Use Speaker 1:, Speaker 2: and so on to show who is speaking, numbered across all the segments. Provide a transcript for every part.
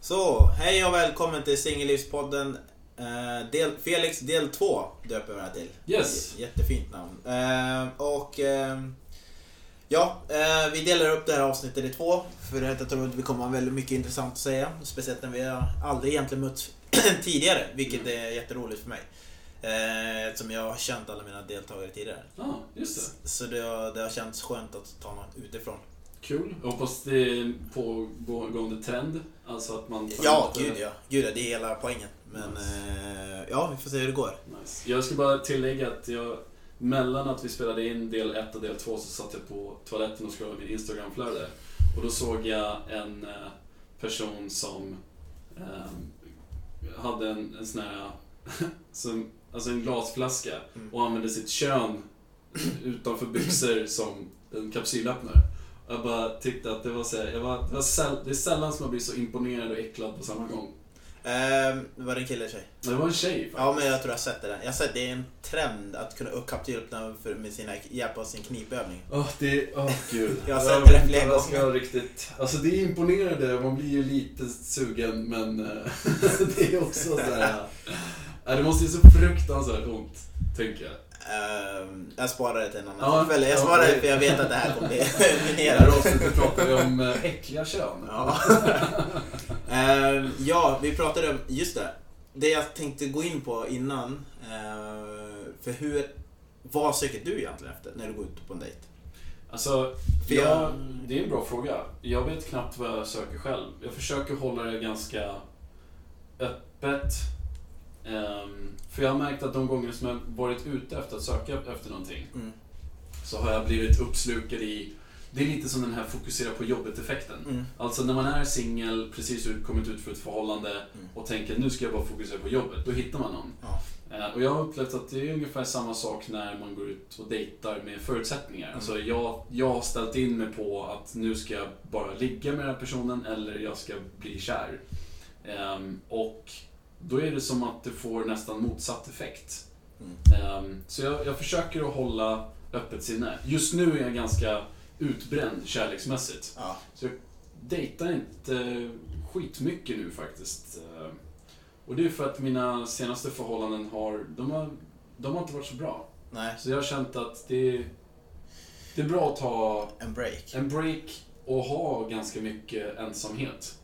Speaker 1: Så, hej och välkommen till Singellivspodden. Eh, Del, Felix del 2 döper vi det här till.
Speaker 2: Yes.
Speaker 1: J- Jättefint namn. Eh, och eh, ja, eh, vi delar upp det här avsnittet i två. För jag tror att vi kommer ha väldigt mycket intressant att säga. Speciellt när vi har aldrig egentligen mötts tidigare, vilket
Speaker 2: Mm.
Speaker 1: är jätteroligt för mig. Eh, Eftersom jag har känt alla mina deltagare tidigare.
Speaker 2: Ja, just det.
Speaker 1: Så det har, det har känts skönt att ta någon utifrån.
Speaker 2: Kul. Jag hoppas det är en pågående trend. Alltså att man... tar
Speaker 1: Ja,
Speaker 2: lite-
Speaker 1: gud ja. Gud ja, det är hela poängen. Men eh, ja, vi får se hur det går.
Speaker 2: Nice. Jag ska bara tillägga att jag... Mellan att vi spelade in del 1 och del 2 så satt jag på toaletten och scrollade min Instagramflöde. Och då såg jag en eh, person som ehm, hade en, en sån här... som, alltså en glasflaska
Speaker 1: Mm.
Speaker 2: och använde sitt kön utanför byxor som en kapsylöppnare. Och Jag bara tyckte att det var så här, jag var, det, var säll, det är sällan som jag blir så imponerad och äcklad på samma gång.
Speaker 1: Ehm, var det en kille eller tjej?
Speaker 2: Det var en tjej faktiskt.
Speaker 1: Ja, men jag tror jag har sett det där. Jag har sett det är en trend att kunna kapsylöppna för- med sina, hjälp av sin knipövning.
Speaker 2: Åh, det... Åh, gud.
Speaker 1: Jag har sett det
Speaker 2: vet
Speaker 1: flera
Speaker 2: inte vad jag ska
Speaker 1: gånger.
Speaker 2: riktigt... Alltså, det är imponerande. Man blir ju lite sugen, men... eh, det är också så här... Ja, det måste ju så fruktansvärt ont, tänker jag.
Speaker 1: Ehm, jag sparar det till en annan
Speaker 2: Ja,
Speaker 1: tillfälle. Jag
Speaker 2: ja,
Speaker 1: sparar det
Speaker 2: det-
Speaker 1: för jag vet att det här kommer bli
Speaker 2: I det här
Speaker 1: minerat.
Speaker 2: avsnittet pratar vi om eh, äckliga kön.
Speaker 1: Ja. Ehm, ja, vi pratade om, just det. Det jag tänkte gå in på innan. eh, för hur, vad söker du egentligen efter när du går ut på en dejt?
Speaker 2: Alltså,
Speaker 1: För
Speaker 2: jag,
Speaker 1: jag-
Speaker 2: det är en bra fråga. Jag vet knappt vad jag söker själv. Jag försöker hålla det ganska öppet. Ehm, för jag har märkt att de gånger som jag varit ute efter att söka efter någonting
Speaker 1: Mm.
Speaker 2: så har jag blivit uppslukad i... Det är lite som den här fokusera på jobbet-effekten.
Speaker 1: Mm.
Speaker 2: Alltså när man är singel, precis ut, kommit ut för ett förhållande och tänker nu ska jag bara fokusera på jobbet, då hittar man någon.
Speaker 1: Ja.
Speaker 2: Eh, Och jag har upplevt att det är ungefär samma sak när man går ut och dejtar med förutsättningar. Alltså jag, jag har ställt in mig på att nu ska jag bara ligga med den här personen eller jag ska bli kär. Ehm, Och då är det som att det får nästan motsatt effekt.
Speaker 1: mm.
Speaker 2: Ehm, Så jag, jag försöker att hålla öppet sinne. Just nu är jag ganska utbränd kärleksmässigt.
Speaker 1: Ja.
Speaker 2: Så jag dejtar inte skitmycket nu faktiskt. Ehm, Och det är för att mina senaste förhållanden har, de har, de har inte varit så bra.
Speaker 1: Nej,
Speaker 2: Så jag har känt att det, det är bra att ta
Speaker 1: en break.
Speaker 2: en break och ha ganska mycket ensamhet.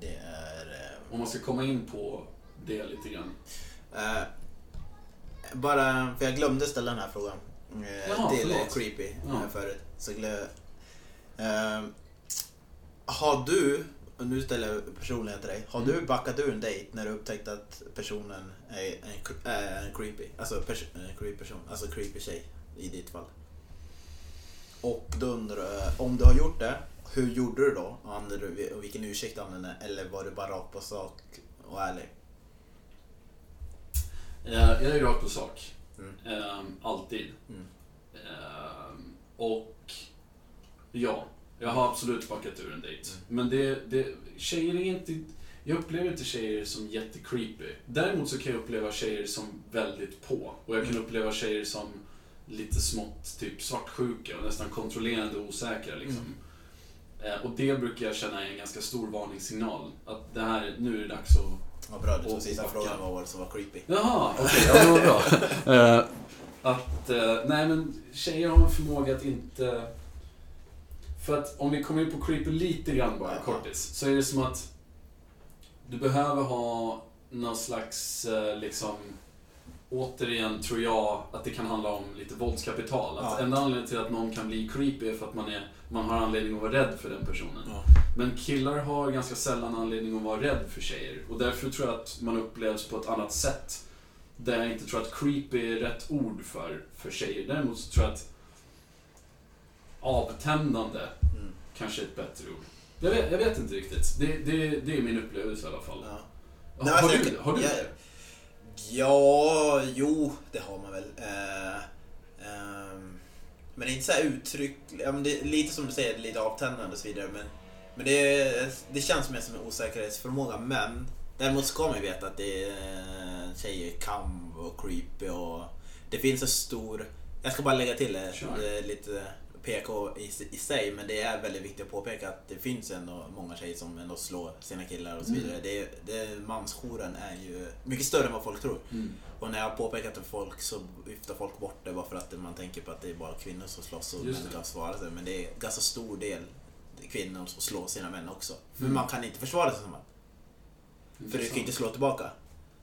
Speaker 1: Det är... eh,
Speaker 2: Om man ska komma in på det lite grann.
Speaker 1: Eh, bara, för jag glömde ställa den här frågan eh,
Speaker 2: Jaha,
Speaker 1: till
Speaker 2: förlåt.
Speaker 1: Creepy
Speaker 2: Ja.
Speaker 1: här förut. Så glö, eh, har du, och nu ställer jag personligen till dig, har
Speaker 2: Mm.
Speaker 1: du backat ur en dejt när du upptäckt att personen är en, cre- är en creepy, alltså pers, en creepy person, alltså creepy tjej i ditt fall? Och då undrar jag, om du har gjort det, hur gjorde du då? Och Använde du, och vilken ursäkt använde du? Eller var du bara rakt på sak och ärlig?
Speaker 2: Eh, Jag är rakt på sak.
Speaker 1: Mm.
Speaker 2: Ehm, alltid.
Speaker 1: Mm.
Speaker 2: Ehm, och ja, jag har absolut backat ur en dejt.
Speaker 1: Mm.
Speaker 2: Men det, det, tjejer är inte... Jag upplever inte tjejer som jättecreepy. Däremot så kan jag uppleva tjejer som väldigt på. Och jag kan
Speaker 1: Mm.
Speaker 2: uppleva tjejer som lite smått typ svartsjuka och nästan kontrollerande och osäkra liksom.
Speaker 1: Mm.
Speaker 2: Eh, Och det brukar jag känna är en ganska stor varningssignal. Att det här, nu är det dags att
Speaker 1: Vad bra, du tog
Speaker 2: Och
Speaker 1: sista
Speaker 2: backa.
Speaker 1: frågan vad var det som var creepy?
Speaker 2: Jaha, okej. ja, det var bra. Eh, att, eh, nej men tjejer har en förmåga att inte... För att om vi kommer in på creepy lite grann bara,
Speaker 1: Ja.
Speaker 2: kortis, så är det som att du behöver ha någon slags, eh, liksom, återigen tror jag att det kan handla om lite våldskapital. Att
Speaker 1: Ja.
Speaker 2: enda anledningen till att någon kan bli creepy är för att man, är, man har anledning att vara rädd för den personen. Men killar har ganska sällan anledning att vara rädd för tjejer. Och därför tror jag att man upplevs på ett annat sätt. Där jag inte tror att creepy är rätt ord för, för tjejer. Däremot så tror jag att avtändande
Speaker 1: Mm.
Speaker 2: kanske är ett bättre ord. Jag vet, jag vet inte riktigt. Det, det, det är min upplevelse i alla fall.
Speaker 1: Ja. Nej,
Speaker 2: Har,
Speaker 1: alltså,
Speaker 2: du, har du
Speaker 1: jag-
Speaker 2: det?
Speaker 1: ja, jo, det har man väl. Eh, ehm, men det är inte så här uttryck, ja, men det är lite som du säger, lite avtändande och så vidare. Men, men det, det känns mer som en osäkerhetsförmåga. Men däremot ska man ju veta att det är, tjejer kan vara creepy och det finns en stor, jag ska bara lägga till det,
Speaker 2: Kör.
Speaker 1: det är lite PK i, s- i sig, men det är väldigt viktigt att påpeka att det finns ändå många tjejer som ändå slår sina killar och så vidare. Det, det, mansjouren är ju mycket större än vad folk tror.
Speaker 2: Mm.
Speaker 1: Och när jag har påpekat det för folk så viftar folk bort det bara för att man tänker på att det är bara kvinnor som slåss och
Speaker 2: Just
Speaker 1: män
Speaker 2: det.
Speaker 1: kan försvara sig. Men det är en ganska stor del kvinnor som slår sina män också. För
Speaker 2: Mm.
Speaker 1: man kan inte försvara sig som man. För du kan inte slå tillbaka.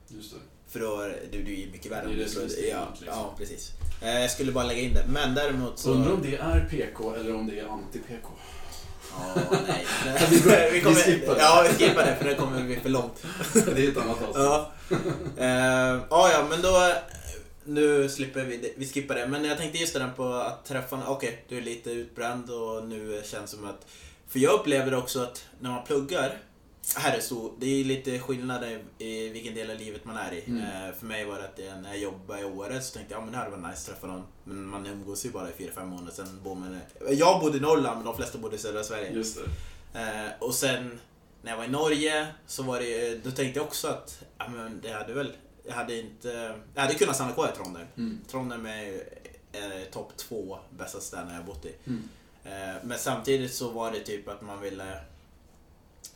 Speaker 2: Just det.
Speaker 1: För då är det, det är ju mycket värre.
Speaker 2: Det är det som är
Speaker 1: ja,
Speaker 2: stigmat, liksom.
Speaker 1: ja, precis. Eh, Jag skulle bara lägga in det. Men däremot så...
Speaker 2: Undrar om det är PK eller om det är anti-PK.
Speaker 1: Ja, nej.
Speaker 2: Vi börjar- vi skippar det.
Speaker 1: Ja, vi skippar det för det kommer vi för långt.
Speaker 2: Det är ett annat alltså. avsnitt.
Speaker 1: Ja. Eh, ja, ja, men då... Nu slipper vi det. Vi skippar det. Men jag tänkte just det där på att träffa... Okej, du är lite utbränd och nu känns det som att... För jag upplever också att när man pluggar... Här är så, det är lite skillnad i- i vilken del av livet man är i.
Speaker 2: Mm.
Speaker 1: Eh, för mig var det att eh, när jag jobbade i Åre så tänkte jag ja, men det hade varit nice att träffa någon. Men man umgås ju bara i 4-5 månader, sen bor man... Jag bodde i Norrland, men de flesta bodde i södra Sverige.
Speaker 2: Just det.
Speaker 1: Eh, och sen när jag var i Norge så var det, eh, då tänkte jag också att ja, men det hade väl, jag hade inte, jag hade kunnat stanna kvar i Trondheim.
Speaker 2: Mm.
Speaker 1: Trondheim är ju, eh, topp två bästa städerna jag har bott i.
Speaker 2: Mm.
Speaker 1: Eh, men samtidigt så var det typ att man ville,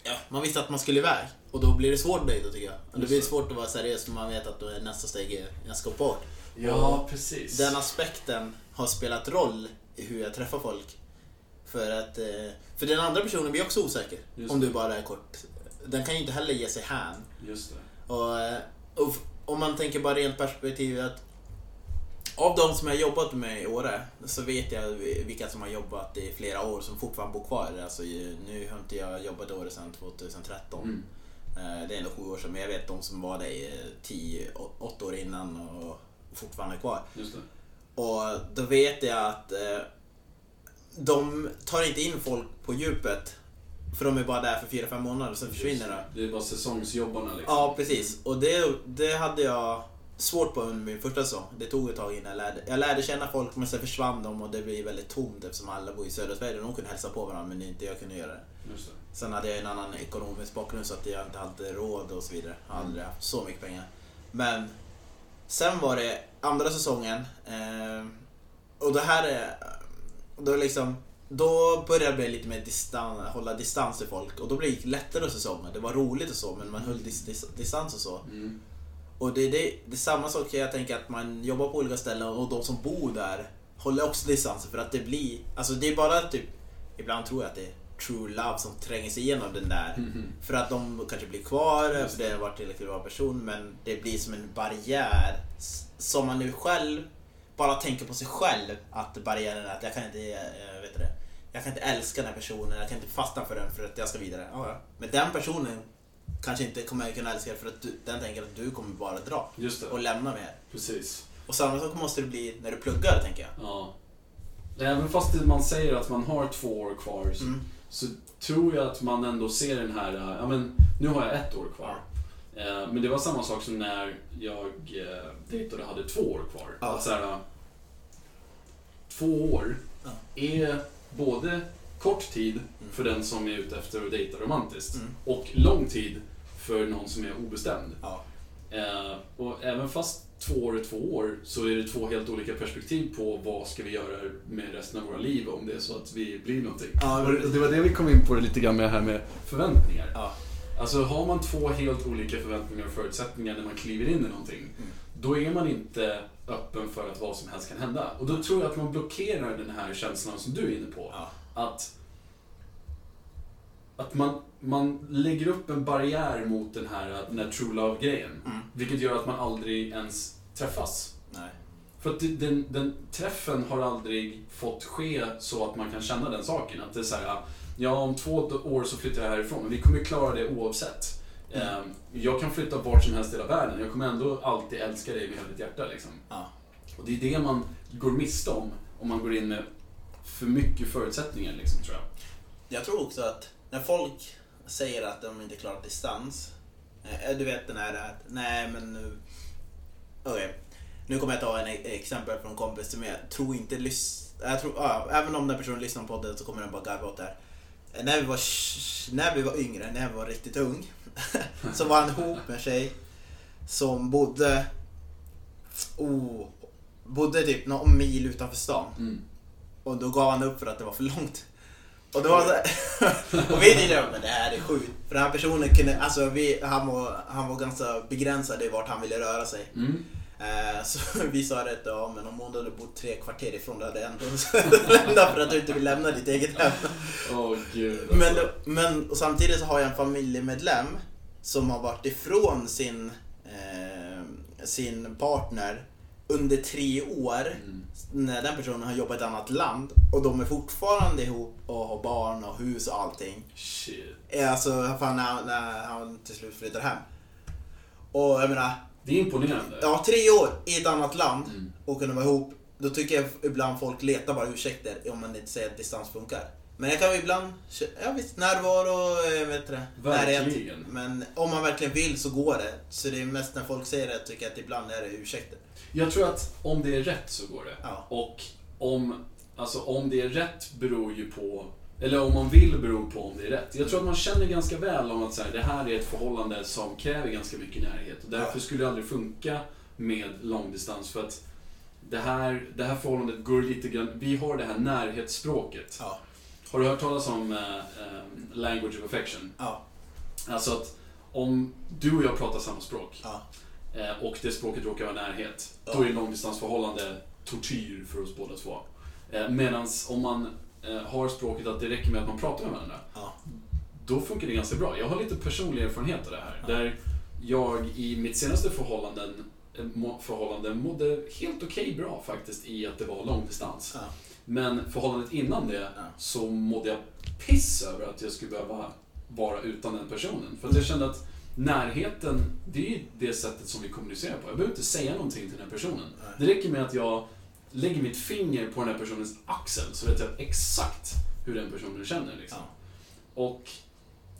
Speaker 1: ja, man visste att man skulle iväg. Och då blir det svårt med det tycker jag. Och det blir
Speaker 2: Just det.
Speaker 1: svårt att vara seriös när man vet att då är nästa steg är ganska bort.
Speaker 2: Ja, precis.
Speaker 1: Den aspekten har spelat roll i hur jag träffar folk. För att eh, för den andra personen blir också osäker
Speaker 2: Just
Speaker 1: om
Speaker 2: det.
Speaker 1: du bara är kort. Den kan ju inte heller ge sig hän.
Speaker 2: Just det.
Speaker 1: Och, eh, och f- om man tänker bara rent perspektiv att av de som jag har jobbat med i Åre så vet jag vilka som har jobbat i flera år som fortfarande bor kvar. Alltså, ju- nu har inte jag jobbat i Åre sedan 2013.
Speaker 2: Mm.
Speaker 1: Eh, Det är ändå sju år sedan men jag vet de som var där i tio, å- åtta år innan och fortfarande är kvar.
Speaker 2: Just det.
Speaker 1: Och då vet jag att eh, de tar inte in folk på djupet. För de är bara där för fyra fem månader och sen försvinner de.
Speaker 2: Det är bara säsongsjobbarna liksom.
Speaker 1: Ja, precis. Och det, det hade jag svårt på under min första säsong. Det tog ett tag innan jag lärde. Jag lärde känna folk men sen försvann de och det blev väldigt tomt eftersom alla bor i södra Sverige. De kunde hälsa på varandra men inte jag kunde göra det.
Speaker 2: Just det.
Speaker 1: Sen hade jag en annan ekonomisk bakgrund så att jag inte hade råd och så vidare. Jag har aldrig haft så mycket pengar. Men sen var det andra säsongen. Eh, och det här är... Då, liksom, då började jag bli lite mer distans, hålla distans till folk och då blev det lättare säsonger. Det var roligt och så men man höll dis, dis, distans och så.
Speaker 2: Mm.
Speaker 1: Och det, det, det är samma sak jag tänker att man jobbar på olika ställen och de som bor där håller också distansen för att det blir, alltså det är bara typ, ibland tror jag att det är true love som tränger sig igenom den där.
Speaker 2: Mhm.
Speaker 1: För att de kanske blir kvar,
Speaker 2: Just
Speaker 1: för det har varit tillräckligt bra person men det blir som en barriär s- som man nu själv bara tänker på sig själv att barriären är att jag kan inte, eh, vet du det, jag kan inte älska den här personen, jag kan inte fastna för den för att jag ska vidare. Ja, ja. Men den personen kanske inte kommer jag kunna älska för att du, den tänker att du kommer bara dra
Speaker 2: Just
Speaker 1: och
Speaker 2: det.
Speaker 1: lämna mig här.
Speaker 2: Precis.
Speaker 1: Och samma sak måste det bli när du pluggar tänker jag.
Speaker 2: Ja. Även fast det- man säger att man har två år kvar så-
Speaker 1: Mm.
Speaker 2: så tror jag att man ändå ser den här, eh, ja men nu har jag ett år kvar. Eh, Men det var samma sak som när jag eh, dejtade och hade två år kvar.
Speaker 1: Ja.
Speaker 2: Att så här, eh, två år
Speaker 1: Ja.
Speaker 2: är både kort tid för den som är ute efter att dejta romantiskt
Speaker 1: Mm.
Speaker 2: och lång tid för någon som är obestämd.
Speaker 1: Ja.
Speaker 2: Eh, och även fast två år är två år så är det två helt olika perspektiv på vad ska vi göra med resten av våra liv om det är så att vi blir någonting.
Speaker 1: Ja,
Speaker 2: och det, och det var det vi kom in på det lite grann med det här med förväntningar.
Speaker 1: Ja.
Speaker 2: Alltså har man två helt olika förväntningar och förutsättningar när man kliver in i någonting då är man inte öppen för att vad som helst kan hända. Och då tror jag att man blockerar den här känslan som du är inne på
Speaker 1: Ja.
Speaker 2: att, att man, man lägger upp en barriär mot den här, eh, den här true love-grejen.
Speaker 1: Mm.
Speaker 2: Vilket gör att man aldrig ens träffas.
Speaker 1: Nej.
Speaker 2: För att det- den, den träffen har aldrig fått ske så att man kan känna den saken. Att det är så här, ja om två år så flyttar jag härifrån, men vi kommer klara det oavsett.
Speaker 1: Mm.
Speaker 2: Ehm, Jag kan flytta vart som helst i hela världen, jag kommer ändå alltid älska dig med hela mitt hjärta. Liksom.
Speaker 1: Ja.
Speaker 2: Och det är det man går miste om, om man går in med för mycket förutsättningar, liksom, tror jag.
Speaker 1: Jag tror också att när folk säger att de inte klarar distans. eh, Du vet den här att, nej men nu... Okej. Nu kommer jag ta en e- exempel från en kompis som jag tror inte lyssnar... Jag tror, ja, även om den personen lyssnar på podden så kommer den bara garva åt det här. Eh, När vi var, sh- när vi var yngre, när jag var riktigt ung, så var han ihop med en tjej som bodde... Oh, bodde typ någon mil utanför stan.
Speaker 2: Mm.
Speaker 1: Och då gav han upp för att det var för långt. Och då var det Och vi tänkte men det här är sjukt. För den här personen kunde, alltså vi, han, var, han var ganska begränsad i vart han ville röra sig.
Speaker 2: Mm.
Speaker 1: Eh, Så vi sa det att ja, men om hon hade bott tre kvarter ifrån då hade jag ändå lämnat för att du inte vill lämna ditt eget hem.
Speaker 2: Åh gud. alltså.
Speaker 1: Men, men och samtidigt så har jag en familjemedlem som har varit ifrån sin, eh, sin partner under tre år
Speaker 2: Mm.
Speaker 1: när den personen har jobbat i ett annat land och de är fortfarande ihop och har barn och hus och allting.
Speaker 2: Shit.
Speaker 1: Eh, Alltså fan, när, när han till slut flyttar hem. Och jag menar,
Speaker 2: Det är imponerande.
Speaker 1: ja, tre år i ett annat land
Speaker 2: Mm.
Speaker 1: och kunna vara ihop. Då tycker jag ibland folk letar bara ursäkter om man inte säger att distans funkar. Men jag kan ju ibland, ja visst, närvaro, eh, vet du det, närhet.
Speaker 2: Verkligen.
Speaker 1: Men om man verkligen vill så går det. Så det är mest när folk säger det tycker jag att ibland är det ursäkter.
Speaker 2: Jag tror att om det är rätt så går det.
Speaker 1: Ja.
Speaker 2: Och om, alltså om det är rätt beror ju på, eller om man vill beror på om det är rätt. Jag tror att man känner ganska väl om att så här, det här är ett förhållande som kräver ganska mycket närhet. Och därför
Speaker 1: Ja.
Speaker 2: skulle det aldrig funka med långdistans. För att det här, det här förhållandet går lite grann, vi har det här närhetsspråket.
Speaker 1: Ja.
Speaker 2: Har du hört talas om eh, eh, language of affection?
Speaker 1: Ja.
Speaker 2: Alltså att om du och jag pratar samma språk
Speaker 1: Ja.
Speaker 2: eh, och det språket råkar vara närhet, då
Speaker 1: Ja.
Speaker 2: är ett långdistansförhållande tortyr för oss båda två. Medan om man eh, har språket att det räcker med att man pratar med varandra,
Speaker 1: Ja.
Speaker 2: då funkar det ganska bra. Jag har lite personlig erfarenhet av det här.
Speaker 1: Ja.
Speaker 2: Där jag i mitt senaste förhållanden, eh, må- förhållande mådde helt okej bra faktiskt i att det var långdistans.
Speaker 1: Ja.
Speaker 2: Men förhållandet innan det
Speaker 1: Ja.
Speaker 2: så mådde jag piss över att jag skulle behöva vara utan den personen. För att jag kände att närheten, det är ju det sättet som vi kommunicerar på. Jag behöver inte säga någonting till den här personen. Det
Speaker 1: Nej.
Speaker 2: räcker med att jag lägger mitt finger på den här personens axel så vet jag exakt hur den personen känner. Liksom.
Speaker 1: Ja.
Speaker 2: Och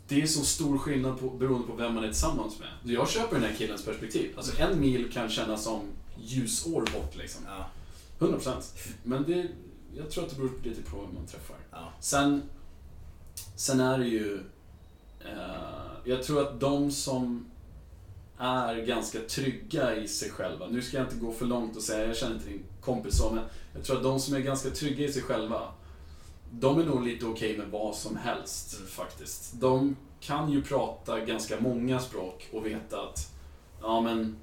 Speaker 2: det är så stor skillnad på, beroende på vem man är tillsammans med. Jag köper den här killens perspektiv. Alltså en mil kan kännas som ljusår bort liksom.
Speaker 1: Ja.
Speaker 2: 100%. Men det, jag tror att det beror lite på vem man träffar.
Speaker 1: Ja.
Speaker 2: Sen, sen är det ju... Eh, jag tror att de som är ganska trygga i sig själva. Nu ska jag inte gå för långt och säga jag känner inte din kompis så, men jag tror att de som är ganska trygga i sig själva, de är nog lite okej med vad som helst
Speaker 1: Mm.
Speaker 2: faktiskt. De kan ju prata ganska många språk och veta att ja, men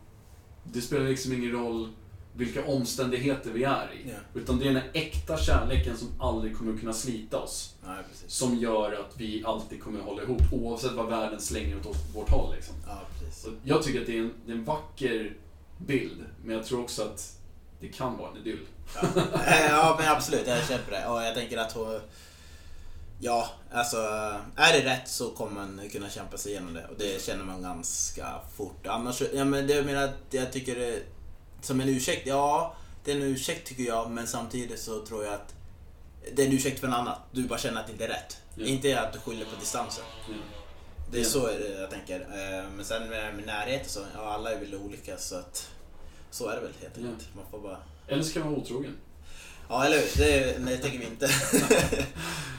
Speaker 2: det spelar liksom ingen roll vilka omständigheter vi är i.
Speaker 1: Ja.
Speaker 2: Utan det är den här äkta kärleken som aldrig kommer att kunna slita oss.
Speaker 1: Nej, precis.
Speaker 2: Som gör att vi alltid kommer att hålla ihop oavsett vad världen slänger åt vårt håll. Liksom.
Speaker 1: Ja, precis.
Speaker 2: Så jag tycker att det är, en, det är en vacker bild, men jag tror också att det kan vara en idyll.
Speaker 1: Ja. Eh, ja, men absolut. Jag köper det. Och jag tänker att hon... Ja, alltså är det rätt så kommer man kunna kämpa sig igenom det. Och det känner man ganska fort. Annars, ja men det jag menar att jag tycker det... Som en ursäkt, ja. Det är en ursäkt tycker jag, men samtidigt så tror jag att det är en ursäkt för en annan. Du bara känner att det inte är rätt.
Speaker 2: Ja.
Speaker 1: Inte att du skyller på distansen.
Speaker 2: Ja.
Speaker 1: Det är
Speaker 2: Ja.
Speaker 1: så jag tänker. Eh, Men sen med med närhet och så, ja alla är väl olika så att... Så är det väl helt
Speaker 2: Ja.
Speaker 1: enkelt. Man får bara...
Speaker 2: Eller så kan man vara otrogen.
Speaker 1: Ja, eller hur? Det, nej, det tänker vi inte.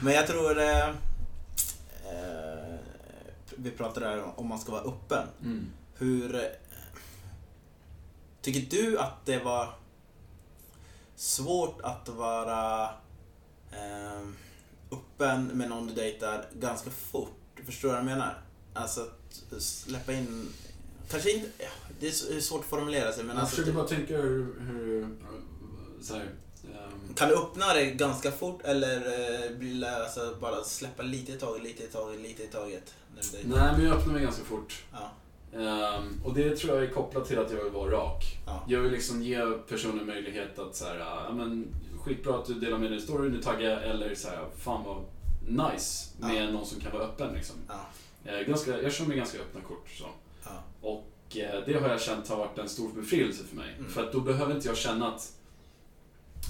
Speaker 1: Men jag tror... Eh, eh, vi pratade där om- om man ska vara öppen. Hur... eh, Tycker du att det var svårt att vara eh, öppen med någon du dejtar ganska fort? Förstår du vad jag menar? Alltså att släppa in... Kanske inte... ja, Det är s- svårt att formulera sig men
Speaker 2: Jag
Speaker 1: alltså...
Speaker 2: försöker
Speaker 1: typ-
Speaker 2: bara tänka hur... hur eh, så här, ehm,
Speaker 1: kan du öppna det ganska fort eller eh, vill jag, alltså, bara släppa lite i taget, lite i taget, lite i taget? När du dejtar?
Speaker 2: nej, men jag öppnar mig ganska fort.
Speaker 1: Ja,
Speaker 2: Ehm, och det tror jag är kopplat till att jag vill vara rak.
Speaker 1: ja,
Speaker 2: Jag vill liksom ge personen möjlighet att så här, ja men skitbra att du delar med dig story, nu taggar jag, eller så här, fan vad nice med någon som kan vara öppen liksom.
Speaker 1: ja,
Speaker 2: Eh, ganska, jag kör mig ganska öppna kort så.
Speaker 1: ja,
Speaker 2: Och eh, det har jag känt har varit en stor befrielse för mig.
Speaker 1: Mm.
Speaker 2: För att då behöver inte jag känna att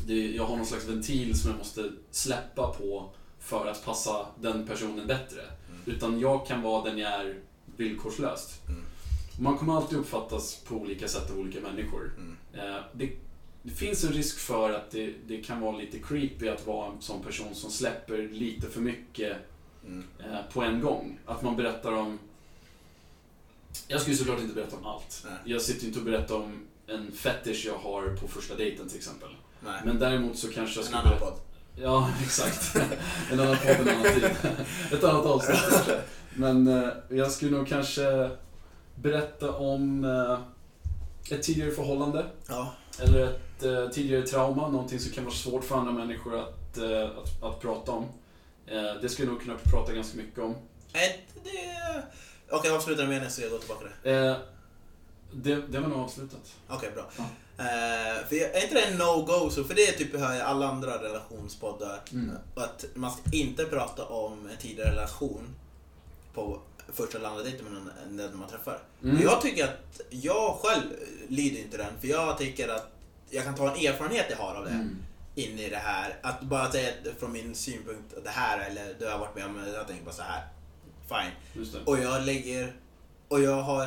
Speaker 2: det, jag har någon slags ventil som jag måste släppa på för att passa den personen bättre.
Speaker 1: mm,
Speaker 2: Utan jag kan vara den jag är villkorslöst.
Speaker 1: mm,
Speaker 2: Man kommer alltid uppfattas på olika sätt av olika människor.
Speaker 1: mm,
Speaker 2: Eh, det, det finns en risk för att det, det kan vara lite creepy att vara en sån person som släpper lite för mycket
Speaker 1: mm,
Speaker 2: eh, på en gång. Att man berättar om... Jag skulle såklart inte berätta om allt.
Speaker 1: Nej.
Speaker 2: Jag sitter ju inte och berättar om en fetish jag har på första dejten till exempel.
Speaker 1: nej.
Speaker 2: Men däremot så kanske jag
Speaker 1: En
Speaker 2: skulle
Speaker 1: annan
Speaker 2: berätta...
Speaker 1: podd.
Speaker 2: Ja, exakt. En annan podd en annan tid. Ett annat avsnitt. Men eh, jag skulle nog kanske berätta om eh, ett tidigare förhållande.
Speaker 1: Ja.
Speaker 2: Eller ett eh, tidigare trauma, någonting som kan vara svårt för andra människor att, eh, att, att prata om. Eh, det skulle jag nog kunna prata ganska mycket om.
Speaker 1: Ett, det... Okej, avsluta den meningen så jag går tillbaka till det.
Speaker 2: Eh, det, det var nog avslutat.
Speaker 1: Okej, bra.
Speaker 2: Ja.
Speaker 1: Eh, för jag, är inte det en no-go? Så, för det är typ hör jag i alla andra relationspoddar.
Speaker 2: Mm.
Speaker 1: Att man ska inte prata om en tidigare relation på första landet med någon när man träffar.
Speaker 2: Mm.
Speaker 1: Och Jag tycker att jag själv lider inte den. För jag tycker att jag kan ta en erfarenhet jag har av det
Speaker 2: Mm.
Speaker 1: in i det här. Att bara säga att från min synpunkt att det här eller du har varit med om det, jag tänker bara så här. Fine.
Speaker 2: Just det.
Speaker 1: Och jag lägger... Och jag har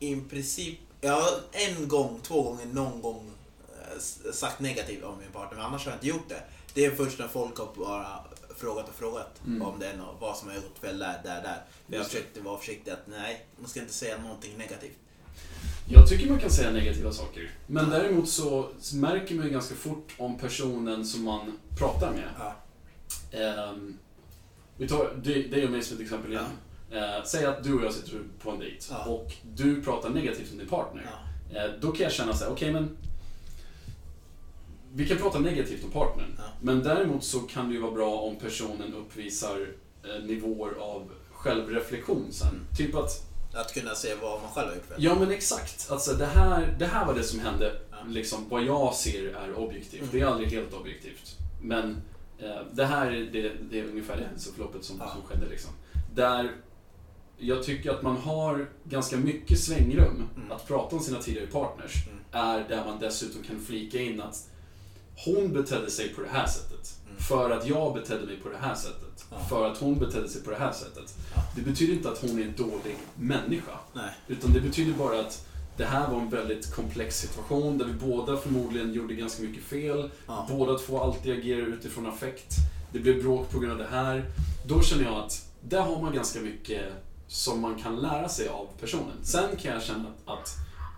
Speaker 1: i princip... Jag har en gång, två gånger, någon gång eh, s- sagt negativt om min partner. Men annars har jag inte gjort det. Det är först när folk har bara frågat och frågat
Speaker 2: Mm.
Speaker 1: om den och vad som har gjort fel där, där, där. Men jag
Speaker 2: Just det.
Speaker 1: försökte vara försiktig att nej, man ska inte säga någonting negativt.
Speaker 2: Jag tycker man kan säga negativa saker. Men däremot så märker man ju ganska fort om personen som man pratar med.
Speaker 1: Ja.
Speaker 2: Ehm, vi tar dig dig och mig som ett exempel igen. Eh, säg att du och jag sitter på en dejt
Speaker 1: Ja.
Speaker 2: och du pratar negativt om din partner.
Speaker 1: Ja.
Speaker 2: Eh, Då kan jag känna så här, okej men vi kan prata negativt om partnern.
Speaker 1: Ja.
Speaker 2: Men däremot så kan det ju vara bra om personen uppvisar eh, nivåer av självreflektion sen.
Speaker 1: Mm.
Speaker 2: Typ att,
Speaker 1: Att kunna se vad man själv har gjort fel.
Speaker 2: ja men exakt, alltså det här, det här var det som hände.
Speaker 1: Ja.
Speaker 2: Liksom, vad jag ser är objektivt,
Speaker 1: Mm.
Speaker 2: det är aldrig helt objektivt. Men eh, det här är det, det är ungefär det händelseförloppet som,
Speaker 1: Ja.
Speaker 2: som skedde. Liksom. Där jag tycker att man har ganska mycket svängrum
Speaker 1: Mm.
Speaker 2: att prata om sina tidigare partners
Speaker 1: Mm.
Speaker 2: är där man dessutom kan flika in att hon betedde sig på det här sättet.
Speaker 1: Mm.
Speaker 2: För att jag betedde mig på det här sättet.
Speaker 1: Ja.
Speaker 2: För att hon betedde sig på det här sättet.
Speaker 1: Ja.
Speaker 2: Det betyder inte att hon är en dålig människa.
Speaker 1: Nej.
Speaker 2: Utan det betyder bara att det här var en väldigt komplex situation där vi båda förmodligen gjorde ganska mycket fel.
Speaker 1: Ja.
Speaker 2: Båda två alltid agerar utifrån affekt. Det blev bråk på grund av det här. Då känner jag att där har man ganska mycket som man kan lära sig av personen. Sen kan jag känna att, att,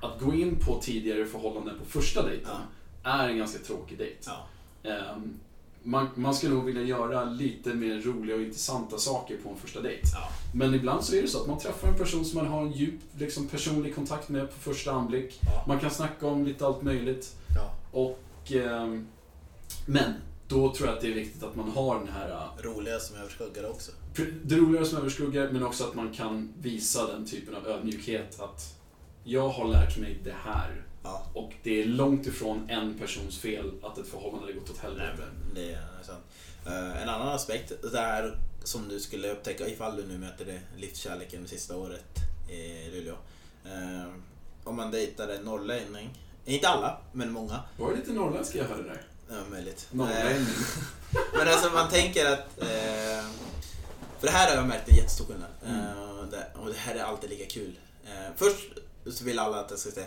Speaker 2: att gå in på tidigare förhållanden på första dejten är en ganska tråkig dejt.
Speaker 1: Ja.
Speaker 2: Ehm, man, man skulle nog vilja göra lite mer roliga och intressanta saker på en första dejt.
Speaker 1: Ja.
Speaker 2: Men ibland så är det så att man träffar en person som man har en djup liksom, personlig kontakt med på första anblick.
Speaker 1: Ja.
Speaker 2: Man kan snacka om lite allt möjligt.
Speaker 1: ja.
Speaker 2: Och, ehm, men då tror jag att det är viktigt att man har den här eh,
Speaker 1: Roliga som överskuggar också.
Speaker 2: pr- det roligare som överskuggar men också att man kan visa den typen av ödmjukhet att jag har lärt mig det här
Speaker 1: Ja.
Speaker 2: och det är långt ifrån en persons fel att ett förhållande har gått åt
Speaker 1: Nej,
Speaker 2: helvete.
Speaker 1: men det är sant. Eh, En annan aspekt där som du skulle upptäcka ifall du nu möter det livskärleken det sista året i Luleå. Eh, Om man dejtar en norrlänning, inte alla, men många.
Speaker 2: Var det lite norrländska jag hörde där?
Speaker 1: Ja, möjligt.
Speaker 2: Norrlänning.
Speaker 1: Eh, Men alltså man tänker att... eh, För det här har jag märkt en jättestor skillnad. Eh, och det- Och det här är alltid lika kul. Eh, Först så vill alla att jag ska säga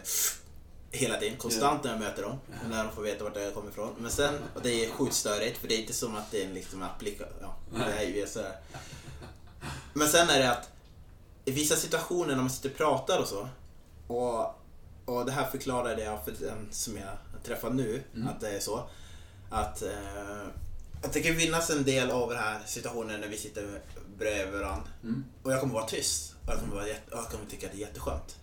Speaker 1: hela tiden, konstant när jag möter dem. Och när de får veta vart jag kommer ifrån. Men sen, och det är sjukt störigt för det är inte som att det är en liksom applikation. Ja, det är ju sådär. Men sen är det att i vissa situationer när man sitter och pratar och så. Och, och det här förklarade jag för den som jag träffar nu, att det är så. Att, eh, att det kan finnas en del av den här situationen när vi sitter bredvid varandra.
Speaker 2: Mm.
Speaker 1: Och jag kommer vara tyst. Och jag kommer, vara jätte, och jag kommer tycka att det är jätteskönt.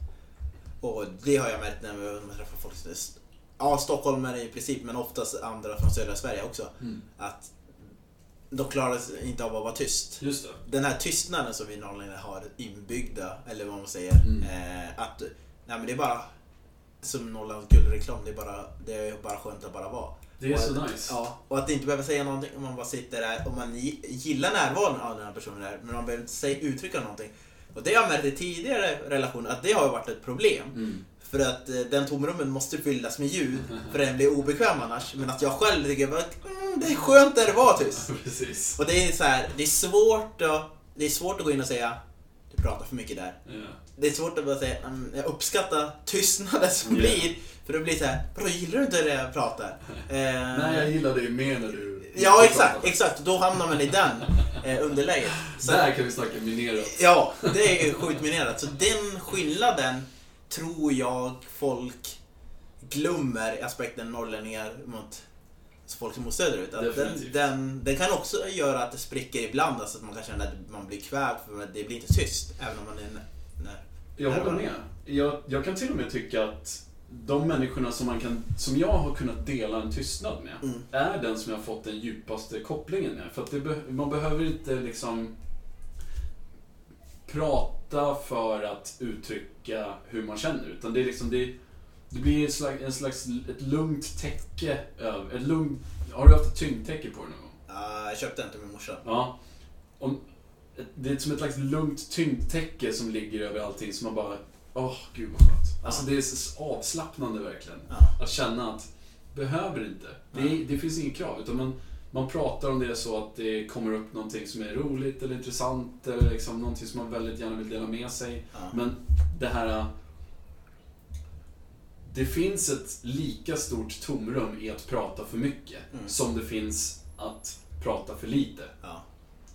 Speaker 1: Och det har jag märkt när man träffar folk. som är st- Ja, stockholmare i princip, men oftast andra från södra Sverige också.
Speaker 2: Mm.
Speaker 1: Att de klarar sig inte av att vara tyst
Speaker 2: Just det.
Speaker 1: den här tystnaden som vi norrlänningar har inbyggda, eller vad man säger.
Speaker 2: Mm.
Speaker 1: Eh, att, nej men det är bara, som Norrlandsgull reklam, det är, bara, det är bara skönt att bara vara.
Speaker 2: Det är
Speaker 1: Och
Speaker 2: så
Speaker 1: att-
Speaker 2: nice.
Speaker 1: Ja, och att inte behöva säga någonting om man bara sitter där och man gi- gillar närvaron av den här personen där, men man behöver inte säga, uttrycka någonting. Och det har jag märkt i tidigare relationer, att det har varit ett problem.
Speaker 2: Mm.
Speaker 1: För att eh, den tomrummen måste fyllas med ljud, för den blir obekväm annars. Men att jag själv tycker bara att mm, det är skönt när det var tyst.
Speaker 2: Precis.
Speaker 1: Och det är så här, det är svårt att, det är svårt att gå in och säga du pratar för mycket där.
Speaker 2: Ja.
Speaker 1: Det är svårt att bara säga "Mm, jag uppskattar tystnaden som
Speaker 2: Ja.
Speaker 1: blir. För då blir det så här, vadå gillar du inte det jag pratar? Eh,
Speaker 2: Nej, jag gillar dig mer när du...
Speaker 1: Ja exakt, exakt. Då hamnar man i den eh, underläget. Så,
Speaker 2: Där kan vi snacka minerat.
Speaker 1: ja, det är ju sjukt minerat. Så den skillnaden tror jag folk glömmer i aspekten norrlänningar mot Så folk som bor söderut. Att den,
Speaker 2: Definitivt.
Speaker 1: den, den kan också göra att det spricker ibland, alltså att man kan känna att man blir kvävd för det blir inte tyst. Även om man är... nä- nä-
Speaker 2: Jag
Speaker 1: Här
Speaker 2: håller
Speaker 1: var det.
Speaker 2: med. Jag, jag kan till och med tycka att de människorna som, man kan, som jag har kunnat dela en tystnad med
Speaker 1: Mm.
Speaker 2: är den som jag har fått den djupaste kopplingen med. För att det, be- man behöver inte liksom prata för att uttrycka hur man känner. Utan det, är liksom, det, det blir en slags, en slags ett lugnt täcke. över- Ett lugnt, har du haft ett tyngdtäcke på dig någon gång?
Speaker 1: Ah, jag köpte den till min morsa.
Speaker 2: Ja. Om, det är som ett slags lugnt tyngdtäcke som ligger över allting som man bara, åh gud vad skönt. Alltså det är så avslappnande verkligen.
Speaker 1: Ja.
Speaker 2: Att känna att, behöver inte. Det,
Speaker 1: Nej.
Speaker 2: är, det finns inget krav. Utan man, man pratar om det så att det kommer upp någonting som är roligt eller intressant eller liksom någonting som man väldigt gärna vill dela med sig.
Speaker 1: Ja.
Speaker 2: Men det här... Det finns ett lika stort tomrum i att prata för mycket
Speaker 1: Mm.
Speaker 2: som det finns att prata för lite.
Speaker 1: Ja.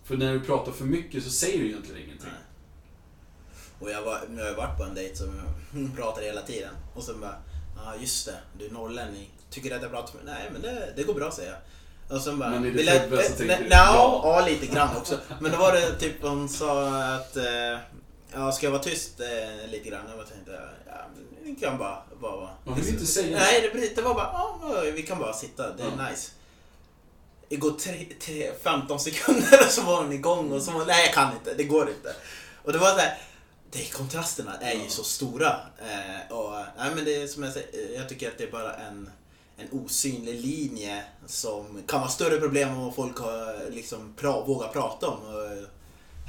Speaker 2: För när du pratar för mycket så säger du egentligen ingenting.
Speaker 1: Nej. Och jag, var, jag har varit på en dejt som hon pratade hela tiden. Och sen bara, ja ah, just det, du är norrlänning. Tycker du att jag pratar för mycket? Nej men det, det går bra säger jag. Och sen bara,
Speaker 2: Men i ditt
Speaker 1: "Vill
Speaker 2: huvud så tänker du,
Speaker 1: nja,
Speaker 2: ja."
Speaker 1: ja lite grann också. Men då var det typ hon sa att, eh, ja ska jag vara tyst eh, lite grann? Jag bara tänkte, ja men ni kan bara, bara vara.
Speaker 2: Man vill inte säga
Speaker 1: Nej, det, blir- det var bara, ja vi kan bara sitta, det är
Speaker 2: Ja.
Speaker 1: nice. Det går tre, tre, 15 sekunder och så var hon igång och så var hon, nej jag kan inte, det går inte. Och det var så här, det, kontrasterna är ju
Speaker 2: Ja.
Speaker 1: så stora. Eh, och, nej, men det är som jag säger, jag tycker att det är bara en, en osynlig linje som kan vara större problem än vad folk har, liksom, pra, vågar prata om och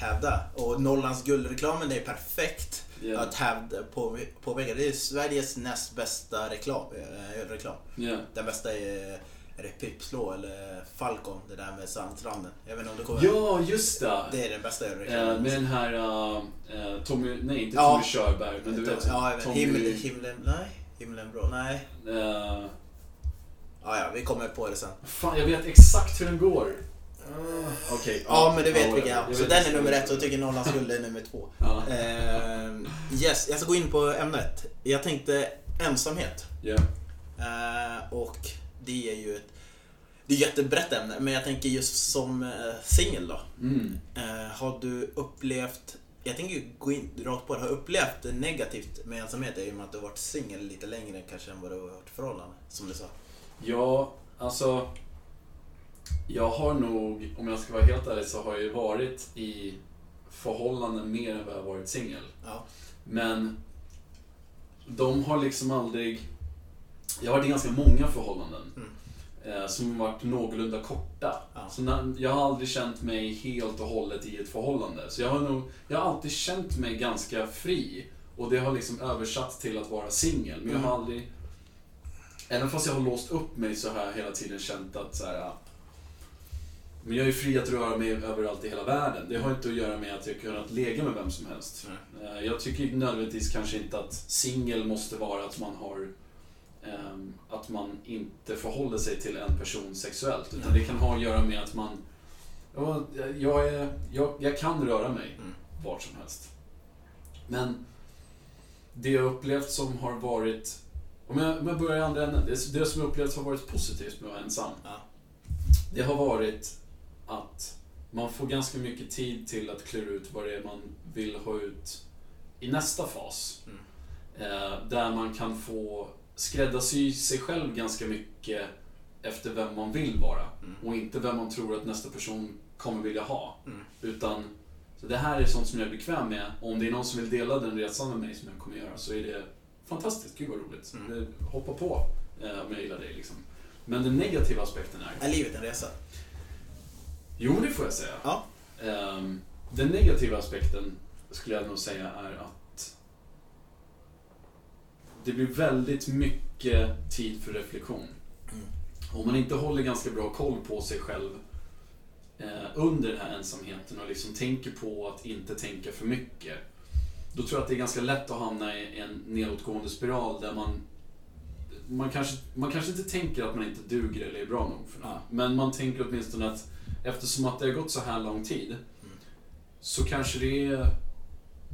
Speaker 1: hävda. Och Norrlands guldreklamen, det är perfekt
Speaker 2: Ja.
Speaker 1: att hävda, på, påpeka. Det är Sveriges näst bästa reklam. eh, ölreklam.
Speaker 2: Ja.
Speaker 1: Den bästa är, är det Pipslå eller Falcon, det där med sandstranden. Jag vet inte om du kommer
Speaker 2: ja, just det.
Speaker 1: Det är den bästa ölreklamen.
Speaker 2: Eh, med den här eh, eh, Tommy, nej inte
Speaker 1: Ja.
Speaker 2: Tommy Körberg, men du vet.
Speaker 1: Typ, ja, jag vet.
Speaker 2: Tommy,
Speaker 1: Himmel, himlen, nej. Himlen bra, nej.
Speaker 2: eh,
Speaker 1: Ja, ja, vi kommer på det sen.
Speaker 2: fan, jag vet exakt hur den går. Okej.
Speaker 1: Ah. Ja, men du vet
Speaker 2: ja,
Speaker 1: vilken jag
Speaker 2: jag
Speaker 1: Så
Speaker 2: vet
Speaker 1: den är
Speaker 2: exakt.
Speaker 1: nummer ett och jag tycker Norrlands guld är nummer två.
Speaker 2: Ja.
Speaker 1: Ehm, yes, jag ska gå in på ämnet. Jag tänkte ensamhet.
Speaker 2: Ja.
Speaker 1: Eh, och det är ju ett, det är ett jättebrett ämne, men jag tänker just som eh, singel då.
Speaker 2: Mm.
Speaker 1: Eh, har du upplevt, jag tänker ju gå in rakt på det, har du upplevt det negativt med ensamhet i och med att du har varit singel lite längre kanske än vad du har varit i förhållande? Som du sa.
Speaker 2: Ja, alltså. Jag har nog, om jag ska vara helt ärlig, så har jag ju varit i förhållanden mer än vad jag har varit singel.
Speaker 1: Ja.
Speaker 2: Men de har liksom aldrig... Jag har varit i ganska många förhållanden eh, som har varit någorlunda korta.
Speaker 1: Ja.
Speaker 2: Så när, jag har aldrig känt mig helt och hållet i ett förhållande. Så jag har, nog, jag har alltid känt mig ganska fri. Och det har liksom översatt till att vara singel. Men jag har aldrig... Även fast jag har låst upp mig så har jag hela tiden känt att så här, men jag är fri att röra mig överallt i hela världen. Det har inte att göra med att jag kunnat lägga med vem som helst. Eh, Jag tycker nödvändigtvis kanske inte att singel måste vara att man har ehm, att man inte förhåller sig till en person sexuellt. Utan
Speaker 1: Nej.
Speaker 2: det kan ha att göra med att man ja, jag, är, jag, jag kan röra mig
Speaker 1: Mm.
Speaker 2: vart som helst. Men det jag upplevt som har varit om jag, om jag börjar i andra änden. Det, det som jag upplevt har varit positivt med att vara ensam.
Speaker 1: Ja.
Speaker 2: Det har varit att man får ganska mycket tid till att klura ut vad det är man vill ha ut i nästa fas.
Speaker 1: Mm.
Speaker 2: Eh, där man kan få skräddarsy sig själv ganska mycket efter vem man vill vara.
Speaker 1: Mm.
Speaker 2: Och inte vem man tror att nästa person kommer vilja ha.
Speaker 1: Mm.
Speaker 2: Utan så det här är sånt som jag är bekväm med. Och om det är någon som vill dela den resan med mig som jag kommer göra så är det fantastiskt. Gud vad roligt.
Speaker 1: Mm.
Speaker 2: Eh, Hoppa på eh, om jag gillar dig liksom. Men den negativa aspekten är
Speaker 1: Är livet en resa?
Speaker 2: Jo, det får jag säga.
Speaker 1: Ja.
Speaker 2: Ehm, den negativa aspekten skulle jag nog säga är att det blir väldigt mycket tid för reflektion.
Speaker 1: Mm.
Speaker 2: Om man inte håller ganska bra koll på sig själv eh, under den här ensamheten och liksom tänker på att inte tänka för mycket. Då tror jag att det är ganska lätt att hamna i en nedåtgående spiral där man man kanske, man kanske inte tänker att man inte duger eller är bra nog för något.
Speaker 1: Ja.
Speaker 2: Men man tänker åtminstone att eftersom att det har gått så här lång tid så kanske det är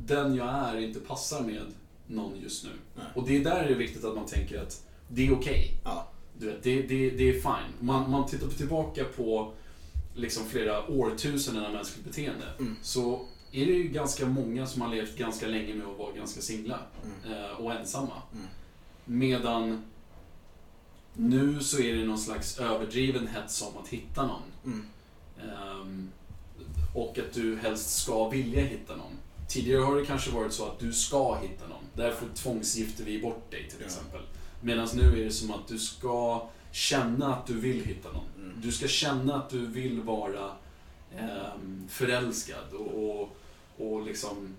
Speaker 2: den jag är inte passar med någon just nu.
Speaker 1: Nej.
Speaker 2: Och det är där det är viktigt att man tänker att det är okej.
Speaker 1: Ja.
Speaker 2: Du vet, det, det, det är fine. Man, man tittar tillbaka på liksom flera årtusenden av mänskligt beteende
Speaker 1: Mm.
Speaker 2: så är det ju ganska många som har levt ganska länge med att vara ganska singla eh, och ensamma.
Speaker 1: Mm.
Speaker 2: Medan nu så är det någon slags överdriven hets om att hitta någon.
Speaker 1: Mm.
Speaker 2: Ehm, och att du helst ska vilja hitta någon. Tidigare har det kanske varit så att du ska hitta någon. Därför tvångsgifter vi bort dig till
Speaker 1: Ja.
Speaker 2: exempel. Medan nu är det som att du ska känna att du vill hitta någon.
Speaker 1: Mm.
Speaker 2: Du ska känna att du vill vara ehm, förälskad och, och, och liksom,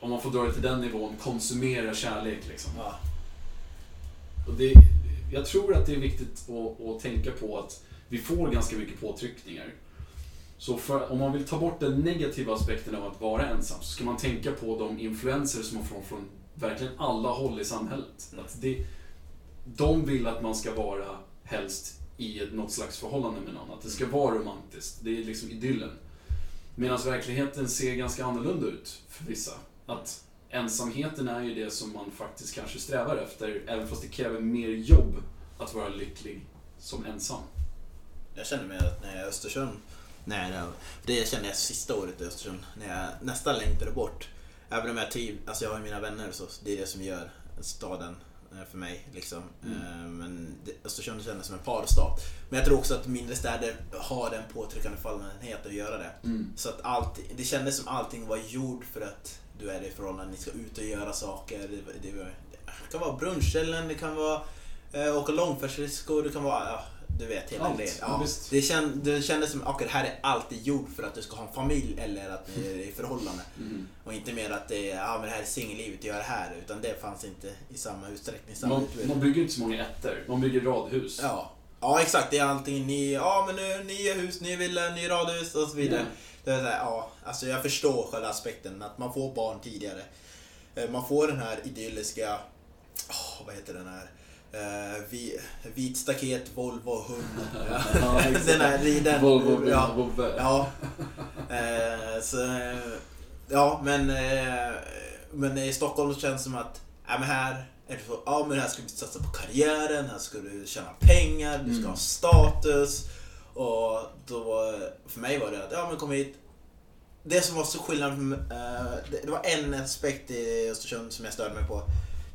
Speaker 2: om man får dra det till den nivån, konsumera kärlek liksom.
Speaker 1: Ja.
Speaker 2: Och det, jag tror att det är viktigt att, att tänka på att vi får ganska mycket påtryckningar. Så för, om man vill ta bort den negativa aspekten av att vara ensam så ska man tänka på de influenser som man får från verkligen alla håll i samhället. Att det, de vill att man ska vara helst i ett- något slags förhållande med någon. Att det ska
Speaker 1: Mm.
Speaker 2: vara romantiskt. Det är liksom idyllen. Medan verkligheten ser ganska annorlunda ut för vissa. Att ensamheten är ju det som man faktiskt kanske strävar efter, även fast det kräver mer jobb att vara lycklig som ensam.
Speaker 1: Jag känner mig att när jag är i Östersund, när jag, det kände jag sista året i Östersund, när jag nästan längtade bort. Även om jag triv, alltså jag har ju mina vänner så det är det som gör staden eh, för mig. Liksom.
Speaker 2: Mm.
Speaker 1: Eh, Men det, Östersund kändes som en parstad. Men jag tror också att mindre städer har den påtryckande fallenhet att göra det. Så att allt, det kändes som allting var gjord för att du är i förhållande, ni ska ut och göra saker. Det, var- det, var- det kan vara brunchställen, det kan vara eh, åka långfärdsskridskor, det kan vara, ja, du vet, hela
Speaker 2: Allt.
Speaker 1: grejen.
Speaker 2: Ja,
Speaker 1: Ja,
Speaker 2: visst.
Speaker 1: det, känd, det kändes som, okej det här är alltid gjord för att du ska ha en familj eller att ni är i förhållande.
Speaker 2: Mm.
Speaker 1: Och inte mer att det är, ja men det här är singellivet, gör det här. Utan det fanns inte i samma utsträckning. i Samma
Speaker 2: Man,
Speaker 1: utbud.
Speaker 2: man bygger inte så många ettor, man bygger radhus.
Speaker 1: Ja. ja, exakt. Det är allting ny, ja men nu, nya hus, nya villa, nya radhus och så vidare.
Speaker 2: Ja.
Speaker 1: Det är så här, ja, alltså jag förstår själva aspekten att man får barn tidigare. Eh, Man får den här idylliska, åh, vad heter den här, Eh, vi, vit staket, Volvo, hund.
Speaker 2: Ja, exakt.
Speaker 1: den här riden.
Speaker 2: Volvo,
Speaker 1: ja,
Speaker 2: ja. Ja.
Speaker 1: ja. Eh, så, eh, ja, men, eh, men i Stockholm så känns det som att ja, men här är det så, ja, men här ska du satsa på karriären, här ska du tjäna pengar, du ska
Speaker 2: Mm.
Speaker 1: ha status. Och då, för mig var det att, ja men kom hit. Det som var så skillnad, eh, det, det var en aspekt i Östersund som jag störde mig på.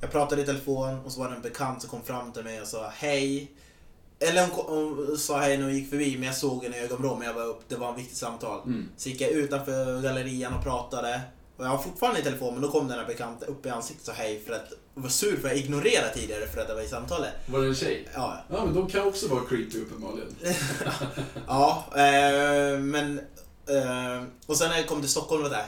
Speaker 1: Jag pratade i telefon och så var det en bekant som kom fram till mig och sa hej. Eller hon, kom, hon sa hej när hon gick förbi men jag såg henne i ögonvrån men jag var upp, det var en viktigt samtal.
Speaker 2: Mm.
Speaker 1: Så gick jag utanför gallerian och pratade. Och jag var fortfarande i telefon men då kom den här bekanta upp i ansiktet och sa hej för att och var sur för att jag ignorerade tidigare för att jag var i samtalet.
Speaker 2: Var det en tjej?
Speaker 1: Ja,
Speaker 2: Ja, men de kan också vara creepy uppenbarligen.
Speaker 1: Eh. ja eh, men... Eh, och sen när jag kom till Stockholm var det där.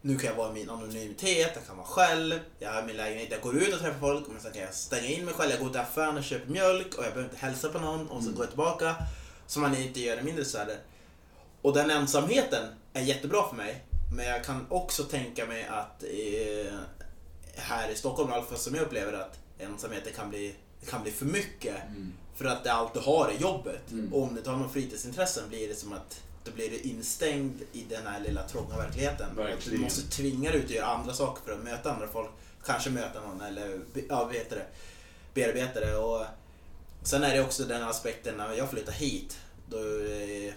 Speaker 1: Nu kan jag vara i min anonymitet, jag kan vara själv, jag har min lägenhet, jag går ut och träffar folk men sen kan jag stänga in mig själv, jag går till affären och köper mjölk och jag behöver inte hälsa på någon och sen
Speaker 2: Mm.
Speaker 1: går jag tillbaka. Som man inte gör i mindre städer. Och den ensamheten är jättebra för mig. Men jag kan också tänka mig att eh, här i Stockholm, i alla fall som jag upplever att ensamheten kan bli, kan bli för mycket.
Speaker 2: Mm.
Speaker 1: För att det allt du har är jobbet.
Speaker 2: Mm.
Speaker 1: Och om du inte har någon fritidsintressen blir det som att då blir du instängd i den här lilla trånga verkligheten.
Speaker 2: Verkligen.
Speaker 1: Att Du måste tvinga dig ut och göra andra saker för att möta andra folk. Kanske möta någon eller be- ja, vad heter det, bearbeta det. Och sen är det också den aspekten när jag flyttar hit. Då, eh,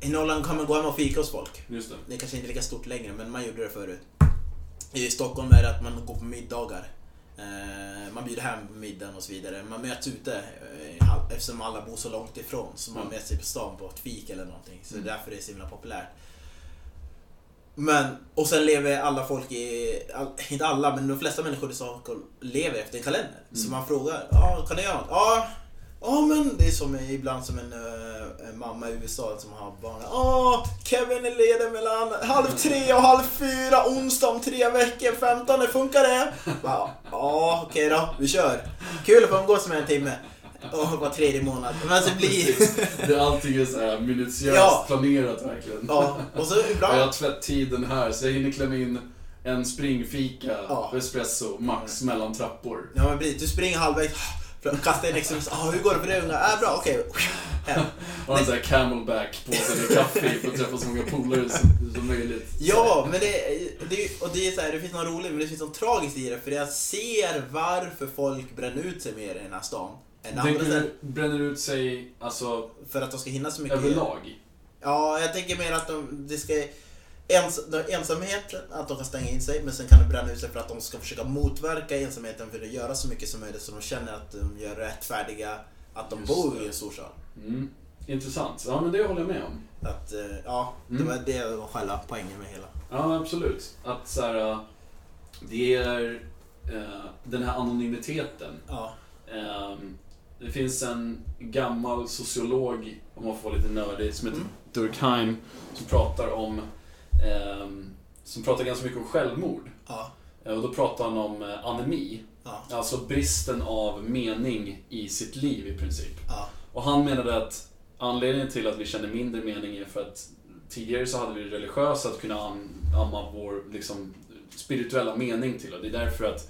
Speaker 1: I Norrland kan man gå hem och fika hos folk.
Speaker 2: Just det.
Speaker 1: Alltså, Det är kanske inte är lika stort längre, men man gjorde det förut. I Stockholm är det att man går på middagar. Eh, Man bjuder hem på middagen och så vidare. Man möts ute eh, i hall- eftersom alla bor så långt ifrån. Så man
Speaker 2: Mm.
Speaker 1: möts i på stan på ett fik eller någonting. Så det är
Speaker 2: Mm.
Speaker 1: därför det är så himla populärt. Men, och sen lever alla folk i, all, inte alla, men de flesta människor i Stockholm lever efter en kalender. Så
Speaker 2: Mm.
Speaker 1: man frågar, ja kan du göra något? Ja, Ja men det är som ibland som en, eh, en mamma i USA som har barn. Ja, Kevin är ledig mellan halv tre och halv fyra onsdag om tre veckor, 15 funkar det? Bara, Ja, okej då, vi kör. Kul att få umgås med en timme. Och var tredje månad. Men så blir
Speaker 2: Precis. Det, allting är så här minutiöst
Speaker 1: Ja.
Speaker 2: planerat verkligen.
Speaker 1: Ja, och så
Speaker 2: Ja, jag
Speaker 1: ibland.
Speaker 2: har tvätt-tiden här så jag hinner klämma in en springfika,
Speaker 1: Ja. Mm.
Speaker 2: espresso, max mellan trappor.
Speaker 1: Ja men precis, du springer halvvägs. Kastar in exempelvis, ah, hur går det för dig unga? Äh, bra, okej. Hem.
Speaker 2: Och en sån här camelback på sig med kaffe för att träffa så många polare som, som möjligt.
Speaker 1: Ja, men det, det, och det, är så här, det finns något roligt men det finns något tragiskt i det för jag ser varför folk bränner ut sig mer i den här stan. En
Speaker 2: Det
Speaker 1: andra
Speaker 2: bränner,
Speaker 1: sätt,
Speaker 2: bränner ut sig alltså,
Speaker 1: för att de ska hinna så mycket.
Speaker 2: överlag.
Speaker 1: Ja, jag tänker mer att de, det ska... Ens, de, ensamhet, att de kan stänga in sig, men sen kan det bränna ut sig för att de ska försöka motverka ensamheten för att göra så mycket som möjligt så de känner att de gör rättfärdiga att de
Speaker 2: Just
Speaker 1: bor
Speaker 2: det.
Speaker 1: i en storstad.
Speaker 2: Mm. Intressant. Ja, men det håller jag med om.
Speaker 1: Att, eh, ja,
Speaker 2: Mm.
Speaker 1: det var det var själva poängen med hela.
Speaker 2: Ja, absolut. Att så här, äh, det är eh, den här anonymiteten.
Speaker 1: Ja,
Speaker 2: Ehm, det finns en gammal sociolog, om man får vara lite nördig, som heter
Speaker 1: Mm.
Speaker 2: Durkheim, som pratar om ehm, som pratar ganska mycket om självmord.
Speaker 1: ja,
Speaker 2: Eh, Och då pratar han om eh, anemi,
Speaker 1: ja,
Speaker 2: alltså bristen av mening i sitt liv i princip.
Speaker 1: ja,
Speaker 2: Och han menade att anledningen till att vi känner mindre mening är för att tidigare så hade vi religiösa att kunna an- amma vår liksom, spirituella mening till. Och det är därför att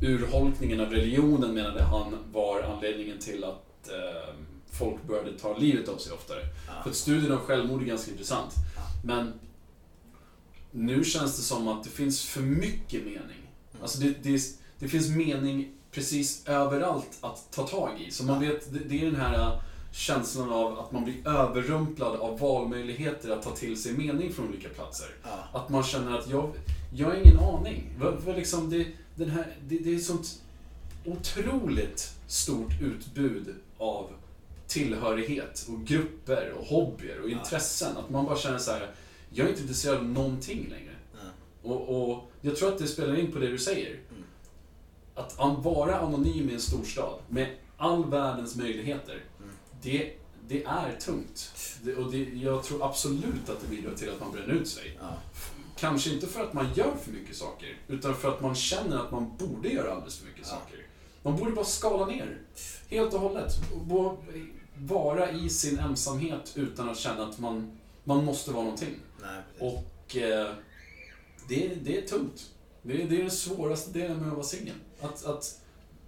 Speaker 2: urholkningen av religionen menade han var anledningen till att eh, folk började ta livet av sig oftare. För
Speaker 1: ja.
Speaker 2: att studien av självmord är ganska intressant.
Speaker 1: Ja.
Speaker 2: Men nu känns det som att det finns för mycket mening. Alltså det, det, det finns mening precis överallt att ta tag i. Så man vet, det, det är den här äh, känslan av att man blir överrumplad av valmöjligheter att ta till sig mening från olika platser.
Speaker 1: ja.
Speaker 2: Att man känner att jag, jag har ingen aning. Vad- vad liksom det, den här, det, det är ett sånt otroligt stort utbud av tillhörighet och grupper och hobbyer och
Speaker 1: Ja.
Speaker 2: intressen. Att man bara känner så här, jag är inte intresserad av någonting längre.
Speaker 1: Mm.
Speaker 2: Och, och jag tror att det spelar in på det du säger.
Speaker 1: Mm.
Speaker 2: Att an, vara anonym i en storstad med all världens möjligheter,
Speaker 1: Mm.
Speaker 2: det, det är tungt. Det, och det, jag tror absolut att det bidrar till att man bränner ut sig.
Speaker 1: Ja,
Speaker 2: Kanske inte för att man gör för mycket saker, utan för att man känner att man borde göra alldeles för mycket
Speaker 1: Ja.
Speaker 2: saker. Man borde bara skala ner, helt och hållet. Och bo- Vara i sin ensamhet utan att känna att man, man måste vara någonting.
Speaker 1: nej, precis.
Speaker 2: Och eh, det, det är tungt. Det, är- det är den svåraste delen med att vara singel. Att, att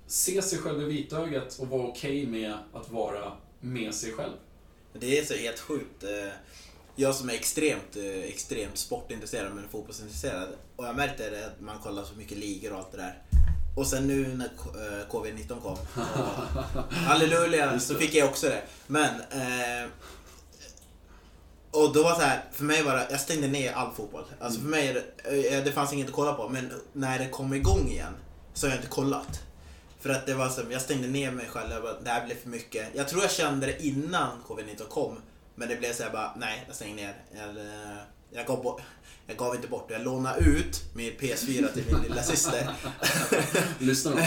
Speaker 2: se sig själv i vitögat och vara okej med att vara med sig själv.
Speaker 1: Det är så helt sjukt. Eh, Jag som är extremt, eh, extremt sportintresserad men fotbollsintresserad. Och jag märkte det att man kollar så mycket ligor och allt det där. Och sen nu när K- eh, Covid-19 kom. och- Halleluja, så fick jag också det. Men... Eh, och då var det så här, för mig var det, jag stängde ner all fotboll. Alltså för mig, är det- eh, det fanns inget att kolla på. Men när det kom igång igen så har jag inte kollat. För att det var som, jag stängde ner mig själv, jag bara, det här blev för mycket. Jag tror jag kände det innan covid-19 kom. Men det blev så jag bara, nej jag stängde ner. Jag, eh, jag, gav, bort, jag gav inte bort det, jag lånade ut min PS4 till min lilla syster.
Speaker 2: Lyssna då.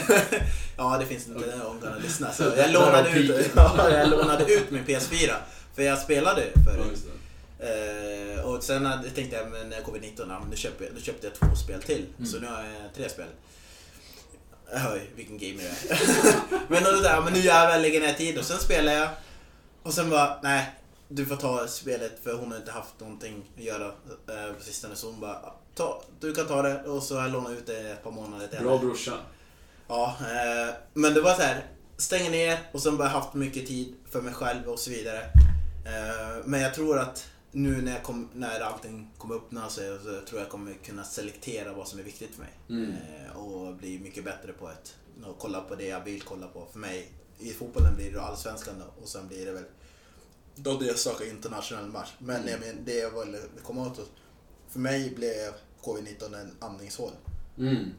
Speaker 1: ja det finns inte okay. omgångar att lyssna. Så
Speaker 2: Så där
Speaker 1: jag, lånade
Speaker 2: har
Speaker 1: ut,
Speaker 2: piken.
Speaker 1: ja, jag lånade ut min PS4. För jag spelade
Speaker 2: Ja,
Speaker 1: förut.
Speaker 2: just det.
Speaker 1: Eh, och sen hade- tänkte jag, men när jag kom i 19, ja, men då, köpte jag, då köpte jag två spel till. Så nu har jag tre spel. Oj, vilken gamer jag är. men, då, där, men nu jävlar lägger jag ner tid och sen spelar jag. Och sen bara, nej, du får ta spelet för hon har inte haft någonting att göra eh, på sistone. Så hon bara, ta, du kan ta det och så har jag lånat ut det ett par månader till
Speaker 2: Bra brorsa.
Speaker 1: Ja, eh, men det var så här. Stänger ner och sen bara haft mycket tid för mig själv och så vidare. Eh, men jag tror att nu när, jag kom, när allting kommer öppna sig så tror jag kommer kunna selektera vad som är viktigt för mig.
Speaker 2: Mm.
Speaker 1: Eh, och bli mycket bättre på att och kolla på det jag vill kolla på. För mig, i fotbollen blir det då allsvenskan då, och sen blir det väl då det jag söker internationell match. Men jag menar, det jag ville komma åt, för mig blev covid-19 en andningshål
Speaker 2: Mm.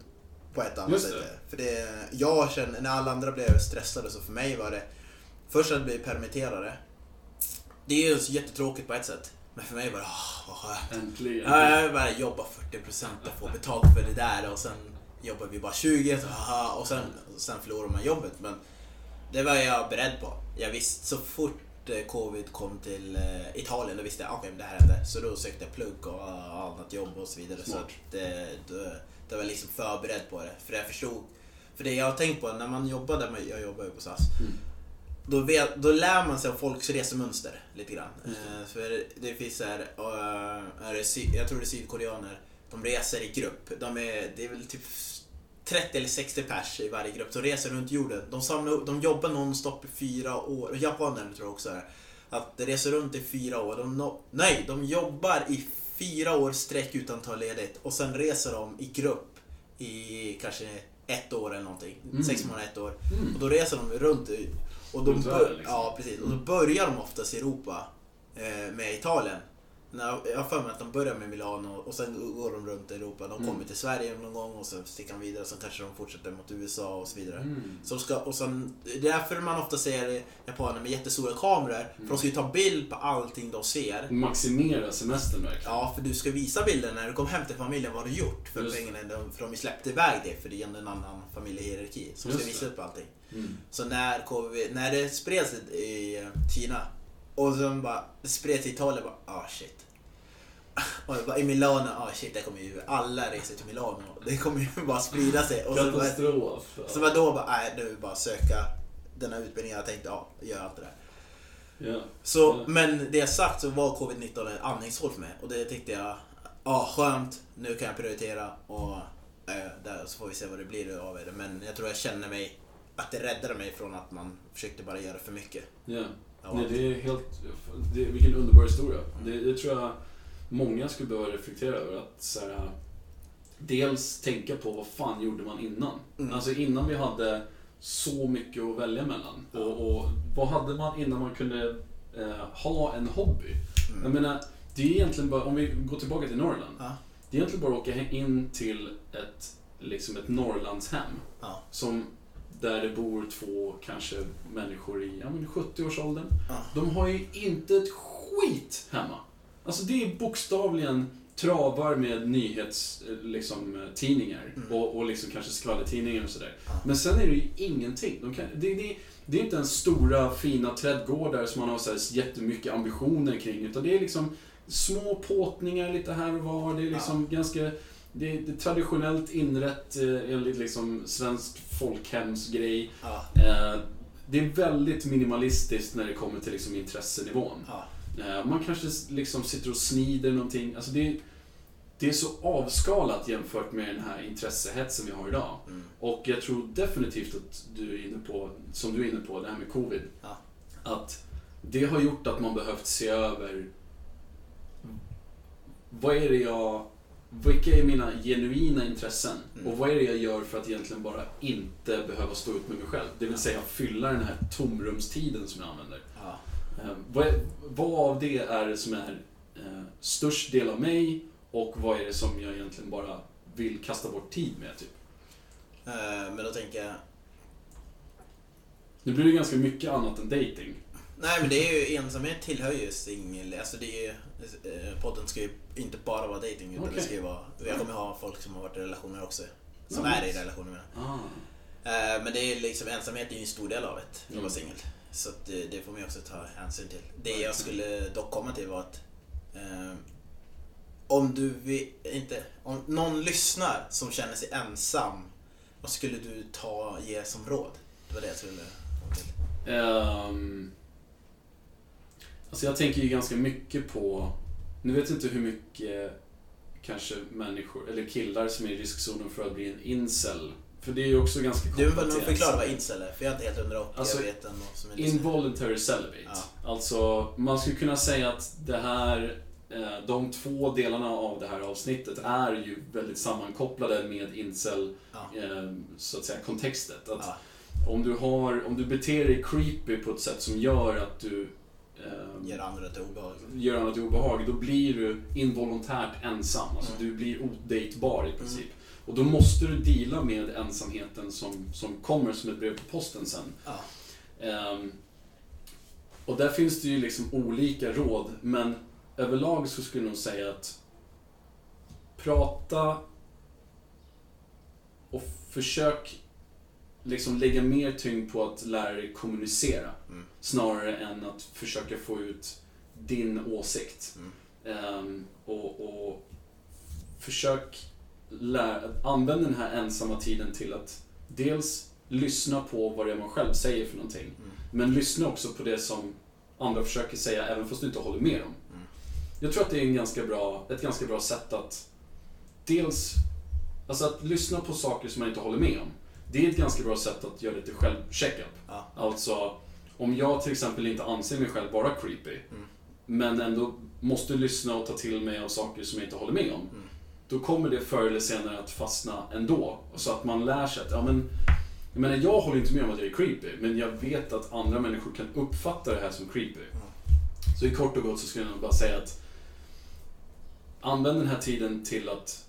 Speaker 1: på ett annat
Speaker 2: Just
Speaker 1: sätt.
Speaker 2: det.
Speaker 1: För det, jag känner, när alla andra blev stressade så för mig var det, först att bli permitterade, det är ju så jättetråkigt på ett sätt. Men för mig var det, åh vad skönt.
Speaker 2: Äntligen.
Speaker 1: Ja, Jag bara jobbar 40% och får betalt för det där och sen jobbar vi bara 20 så, haha, och sen, sen förlorar man jobbet. Men det var jag beredd på. Jag visste så fort eh, covid kom till eh, Italien, då visste jag okej, men det här hände. Så då sökte jag plugg och eh, annat jobb och så vidare. Så
Speaker 2: Smart.
Speaker 1: att, eh, då, då var jag liksom förberedd på det. För jag förstod. För det jag har tänkt på när man jobbar där man, jag jobbar ju på SAS.
Speaker 2: Mm.
Speaker 1: Då, vet, då lär man sig av folks resemönster lite grann. Eh, för det finns så här, eh, är det sy- jag tror det är sydkoreaner, de reser i grupp. De är, det är väl typ 30 eller 60 pers i varje grupp som reser runt jorden. De, samlar, upp- de jobbar nonstop i fyra år. Japaner tror jag också är det. Att de reser runt i fyra år. De no, nej, de jobbar i fyra år sträck utan att ta ledigt. Och sen reser de i grupp i kanske ett år eller någonting.
Speaker 2: Mm.
Speaker 1: Sex månader, ett år.
Speaker 2: Mm.
Speaker 1: Och då reser de runt i- och de
Speaker 2: Runt
Speaker 1: bör-
Speaker 2: världen, liksom.
Speaker 1: ja, precis. Och då börjar de oftast i Europa eh, med Italien. När jag jag har för mig att de börjar med Milano och sen går de runt i Europa. De kommer
Speaker 2: Mm.
Speaker 1: till Sverige någon gång och sen sticker de vidare. Sen kanske de fortsätter mot USA och så vidare.
Speaker 2: Mm.
Speaker 1: Så de ska, och sen, det är därför man ofta ser japaner med jättestora kameror. För de ska ju ta bild på allting de ser.
Speaker 2: Maximera semestern verkligen.
Speaker 1: Ja, för du ska visa bilden när du kom hem till familjen vad du gjort för
Speaker 2: Just det.
Speaker 1: pengarna. De, för de släppte iväg det för det är ändå en annan familjehierarki som ska
Speaker 2: Just
Speaker 1: visa
Speaker 2: det.
Speaker 1: upp allting.
Speaker 2: Mm.
Speaker 1: Så när, covid, när det spreds i- i eh, Kina och sen bara det spreds i Italien, bara ah shit. Och jag bara, i Milano, ah shit, det kommer ju alla reser till Milano. Det kommer ju bara sprida sig. Och så bara,
Speaker 2: Katastrof.
Speaker 1: så bara då bara, nej nu bara söka den här utbildningen. Jag tänkte, ja, gör allt det där.
Speaker 2: Ja.
Speaker 1: Så,
Speaker 2: Mm.
Speaker 1: Men det jag sagt så var covid-19 ett andningshål för mig och det tyckte jag, ja skönt, nu kan jag prioritera och eh, där, så får vi se vad det blir av det. Men jag tror jag känner mig, att det räddade mig från att man försökte bara göra för mycket.
Speaker 2: Ja.
Speaker 1: Ja.
Speaker 2: Nej, det är helt... Det, vilken underbar historia. Det, det tror jag många skulle behöva reflektera över. Att så här, dels tänka på vad fan gjorde man innan?
Speaker 1: Mm.
Speaker 2: Alltså innan vi hade så mycket att välja mellan.
Speaker 1: Ja.
Speaker 2: Och, och vad hade man innan man kunde eh, ha en hobby?
Speaker 1: Mm.
Speaker 2: Jag menar, det är egentligen bara, om vi går tillbaka till Norrland.
Speaker 1: Ja.
Speaker 2: Det är egentligen bara att åka he- in till ett, liksom ett Norrlandshem.
Speaker 1: Ja.
Speaker 2: Som, där det bor två kanske människor i ja, men 70-årsåldern.
Speaker 1: Ja.
Speaker 2: De har ju inte ett skit hemma. Alltså det är bokstavligen travar med nyhetstidningar liksom, eh, tidningar
Speaker 1: Mm.
Speaker 2: och, och liksom kanske skvallertidningar och sådär.
Speaker 1: Ja.
Speaker 2: Men sen är det ju ingenting. De kan, det, det, det är inte ens stora fina trädgårdar som man har så här, jättemycket ambitioner kring. Utan det är liksom små påtningar lite här och var. Det är liksom ganska... Det är, det är traditionellt inrett eh, enligt liksom svensk folkhemsgrej.
Speaker 1: Ja.
Speaker 2: Eh, det är väldigt minimalistiskt när det kommer till liksom intressenivån.
Speaker 1: Ja.
Speaker 2: Eh, man kanske s- liksom sitter och snider någonting. Alltså det, är, det är så avskalat jämfört med den här intressehetsen vi har idag.
Speaker 1: Mm.
Speaker 2: Och jag tror definitivt att du är inne på, som du är inne på, det här med covid.
Speaker 1: Ja.
Speaker 2: Att det har gjort att man behövt se över vad är det jag, vilka är mina genuina intressen?
Speaker 1: Mm.
Speaker 2: Och vad är det jag gör för att egentligen bara inte behöva stå ut med mig själv? Det vill säga fylla den här tomrumstiden som jag använder.
Speaker 1: Ja.
Speaker 2: Eh, vad, är- vad av det är det som är eh, störst del av mig och vad är det som jag egentligen bara vill kasta bort tid med? Typ?
Speaker 1: Eh, men då tänker jag,
Speaker 2: Nu blir det ganska mycket annat än dating.
Speaker 1: nej men det är ju ensamhet tillhör ju singel, alltså det är ju, eh, podden ska ju inte bara vara dating utan det
Speaker 2: Okej.
Speaker 1: ska ju vara, jag kommer ha folk som har varit i relationer också. Som
Speaker 2: Ja,
Speaker 1: är i
Speaker 2: nice.
Speaker 1: relationer menar jag.
Speaker 2: Ah.
Speaker 1: Eh, Men det är liksom, ensamhet är ju en stor del av ett, att
Speaker 2: Mm.
Speaker 1: vara singel. Så att det, det får man ju också ta hänsyn till. Det jag skulle dock komma till var att eh, om du vi- inte, om någon lyssnar som känner sig ensam, vad skulle du ta, ge som råd? Det var det jag skulle komma till.
Speaker 2: Ehm, alltså jag tänker ju ganska mycket på, nu vet jag inte hur mycket kanske människor, eller killar som är i riskzonen för att bli en incel. För det är ju också ganska
Speaker 1: Du
Speaker 2: kopplat
Speaker 1: får
Speaker 2: till
Speaker 1: förklara vad
Speaker 2: ensamhet.
Speaker 1: incel är, för jag är inte helt hundra och
Speaker 2: Alltså,
Speaker 1: jag vet ändå som är lyssnare.
Speaker 2: Involuntary celibate. Alltså, man skulle kunna säga att det här, eh, de två delarna av det här avsnittet är ju väldigt sammankopplade med incel,
Speaker 1: Ja.
Speaker 2: eh, så att säga, kontextet. Att
Speaker 1: Ja.
Speaker 2: om, du har, om du beter dig creepy på ett sätt som gör att du eh,
Speaker 1: Ger andra till obehag.
Speaker 2: gör annat obehag, då blir du involontärt ensam. Alltså
Speaker 1: Mm.
Speaker 2: du blir odejtbar i princip. Och då måste du deala med ensamheten som, som kommer som ett brev på posten sen.
Speaker 1: Ja.
Speaker 2: Ehm, och där finns det ju liksom olika råd, men överlag så skulle jag nog säga att prata och försök liksom lägga mer tyngd på att lära dig kommunicera
Speaker 1: Mm.
Speaker 2: snarare än att försöka få ut din åsikt.
Speaker 1: Mm.
Speaker 2: Ehm, och, och försök lära, använda den här ensamma tiden till att dels lyssna på vad det är man själv säger för någonting
Speaker 1: Mm.
Speaker 2: men lyssna också på det som andra försöker säga även fast du inte håller med dem.
Speaker 1: Mm.
Speaker 2: Jag tror att det är en ganska bra, ett ganska bra sätt att dels, alltså att lyssna på saker som man inte håller med om. Det är ett ganska bra sätt att göra lite självcheckup.
Speaker 1: Ja.
Speaker 2: Alltså, om jag till exempel inte anser mig själv vara creepy,
Speaker 1: Mm.
Speaker 2: men ändå måste lyssna och ta till mig av saker som jag inte håller med om.
Speaker 1: Mm.
Speaker 2: då kommer det förr eller senare att fastna ändå. Så att man lär sig att, ja men, jag menar jag håller inte med om att jag är creepy, men jag vet att andra människor kan uppfatta det här som creepy. Så i kort och gott så skulle jag nog bara säga att använd den här tiden till att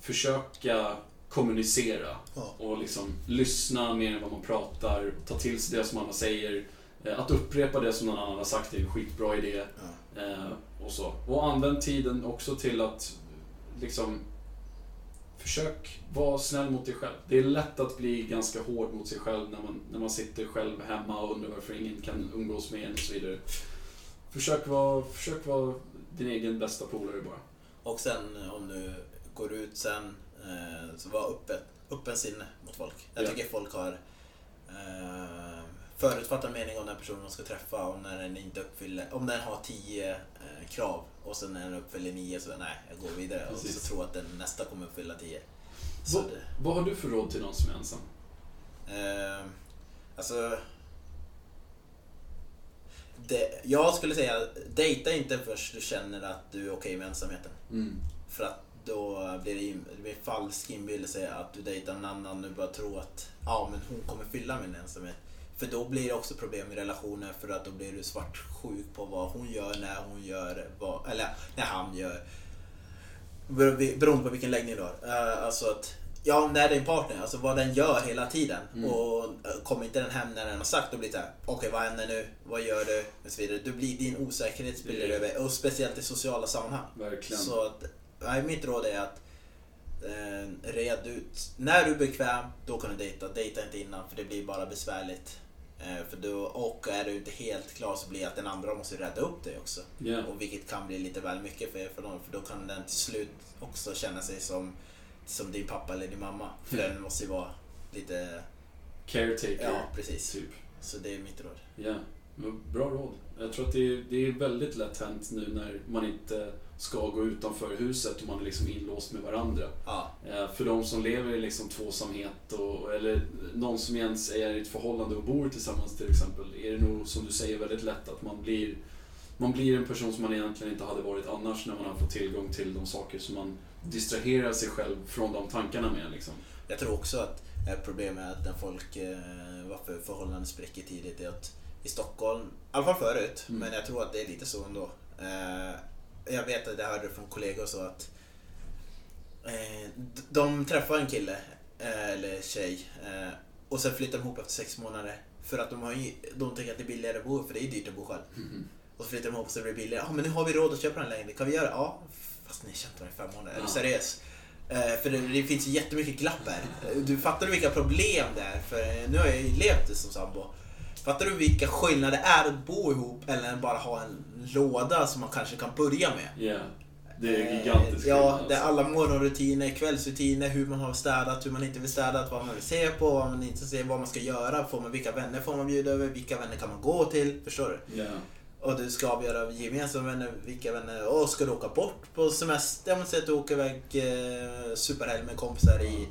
Speaker 2: försöka kommunicera
Speaker 1: Ja.
Speaker 2: och liksom lyssna mer än vad man pratar, ta till sig det som andra säger. Eh, Att upprepa det som någon annan har sagt är en skitbra idé.
Speaker 1: Ja.
Speaker 2: Eh, och så. Och använd tiden också till att liksom Försök vara snäll mot dig själv. Det är lätt att bli ganska hård mot sig själv när man, när man sitter själv hemma och undrar varför ingen kan umgås med en och så vidare. Försök vara, försök vara din egen bästa polare bara.
Speaker 1: Och sen eh, om du går ut sen, eh, så var öppen, öppen sinne mot folk. Jag
Speaker 2: Ja.
Speaker 1: tycker folk har eh, förutfattad mening om den personen de ska träffa och när den inte uppfyller, om den har 10 eh, krav och sen när den uppfyller 9 så nej, jag går vidare och
Speaker 2: Precis.
Speaker 1: så tror jag att den nästa kommer uppfylla 10. Så
Speaker 2: Vad-
Speaker 1: det,
Speaker 2: Vad har du för råd till någon som är ensam?
Speaker 1: Eh, alltså... Det, jag skulle säga, dejta inte först du känner att du är okej med ensamheten. För att då blir det, in- det blir falsk inbillelse att du dejtar en annan och du bara tror att ja, men hon kommer fylla min ensamhet. För då blir det också problem i relationer för att då blir du svartsjuk på vad hon gör, när hon gör, vad, eller när han gör. Bero- Beroende på vilken läggning du har. Eh, Alltså att, ja, när det är en partner, alltså vad den gör hela tiden. Och eh, kommer inte den hem när den har sagt, då blir det såhär, okej vad händer nu? Vad gör du? Och så vidare. Du blir, din osäkerhet spiller
Speaker 2: Mm.
Speaker 1: över, och speciellt i sociala sammanhang.
Speaker 2: Verkligen.
Speaker 1: Så att, nej, mitt råd är att eh, red ut. När du är bekväm, då kan du dejta. Dejta inte innan, för det blir bara besvärligt. Eh, för då, och är du inte helt klar så blir det att den andra måste rädda upp dig också.
Speaker 2: Ja.
Speaker 1: Och vilket kan bli lite väl mycket för, för dem, för då kan den till slut också känna sig som, som din pappa eller din mamma. För
Speaker 2: Ja.
Speaker 1: den måste ju vara lite...
Speaker 2: Caretaker.
Speaker 1: Ja, precis.
Speaker 2: Typ.
Speaker 1: Så det är mitt råd.
Speaker 2: Ja, men bra råd. Jag tror att det är, det är väldigt lätt hänt nu när man inte ska gå utanför huset och man är liksom inlåst med varandra.
Speaker 1: Ja,
Speaker 2: Eh, För de som lever i liksom tvåsamhet och, eller någon som ens är i ett förhållande och bor tillsammans till exempel är det nog som du säger väldigt lätt att man blir man blir en person som man egentligen inte hade varit annars när man har fått tillgång till de saker som man distraherar sig själv från de tankarna med. Liksom.
Speaker 1: Jag tror också att ett problem är att när folk, eh, varför förhållanden spricker tidigt är att i Stockholm, i alla fall förut,
Speaker 2: Mm.
Speaker 1: men jag tror att det är lite så ändå. Eh, jag vet att jag hörde från kollegor och så att eh, d- de träffar en kille eh, eller tjej eh, och sen flyttar de ihop efter sex månader. För att de, har, ju- de tycker att det är billigare att bo, för det är dyrt att bo själv. Och så flyttar de ihop så det blir billigare. Ja, men nu har vi råd att köpa den lägenheten. Kan vi göra det? Ja, fast ni har känt varandra i fem månader. Är
Speaker 2: Ja.
Speaker 1: du seriös? Eh, För det, det finns ju jättemycket glapp här. Eh, Du fattar du vilka problem det är? För eh, nu har jag ju levt som sambo. Fattar du vilka skillnader det är att bo ihop eller bara ha en låda som man kanske kan börja med?
Speaker 2: Ja, Det är
Speaker 1: Eh,
Speaker 2: gigantiskt
Speaker 1: Ja,
Speaker 2: skillnad,
Speaker 1: det är
Speaker 2: alltså.
Speaker 1: alla morgonrutiner, kvällsrutiner, hur man har städat, hur man inte vill städat, vad man vill se på, vad man inte ser, vad man ska göra, får man, vilka vänner får man bjuda över, vilka vänner kan man gå till? Förstår du?
Speaker 2: Ja.
Speaker 1: Och du ska avgöra gemensamma vänner, vilka vänner, och ska du åka bort på semester? Jag måste säga att du åker iväg eh, superhelg med kompisar i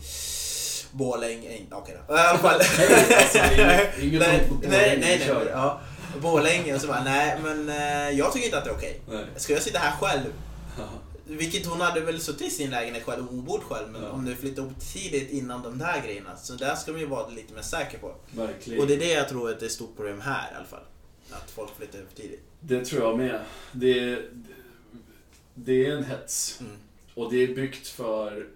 Speaker 1: Borlänge, eh, inte- okej då. I alla fall.
Speaker 2: Nej, alltså, inget- inget
Speaker 1: nej,
Speaker 2: ont om
Speaker 1: nej,
Speaker 2: Borlänge,
Speaker 1: nej, nej,
Speaker 2: kör.
Speaker 1: ja. Borlänge och så bara, nej men eh, jag tycker inte att det är okej.
Speaker 2: Nej.
Speaker 1: Ska jag sitta här själv? Vilket hon hade väl suttit i sin lägenhet själv och hon bott själv men
Speaker 2: Ja.
Speaker 1: om du flyttar upp tidigt innan de där grejerna. Så där ska man ju vara lite mer säker på.
Speaker 2: Verkligen.
Speaker 1: Och det är det jag tror att det är ett stort problem här i alla fall. Att folk flyttar upp tidigt.
Speaker 2: Det tror jag med. Det, det, det är en hets.
Speaker 1: Mm.
Speaker 2: Och det är byggt för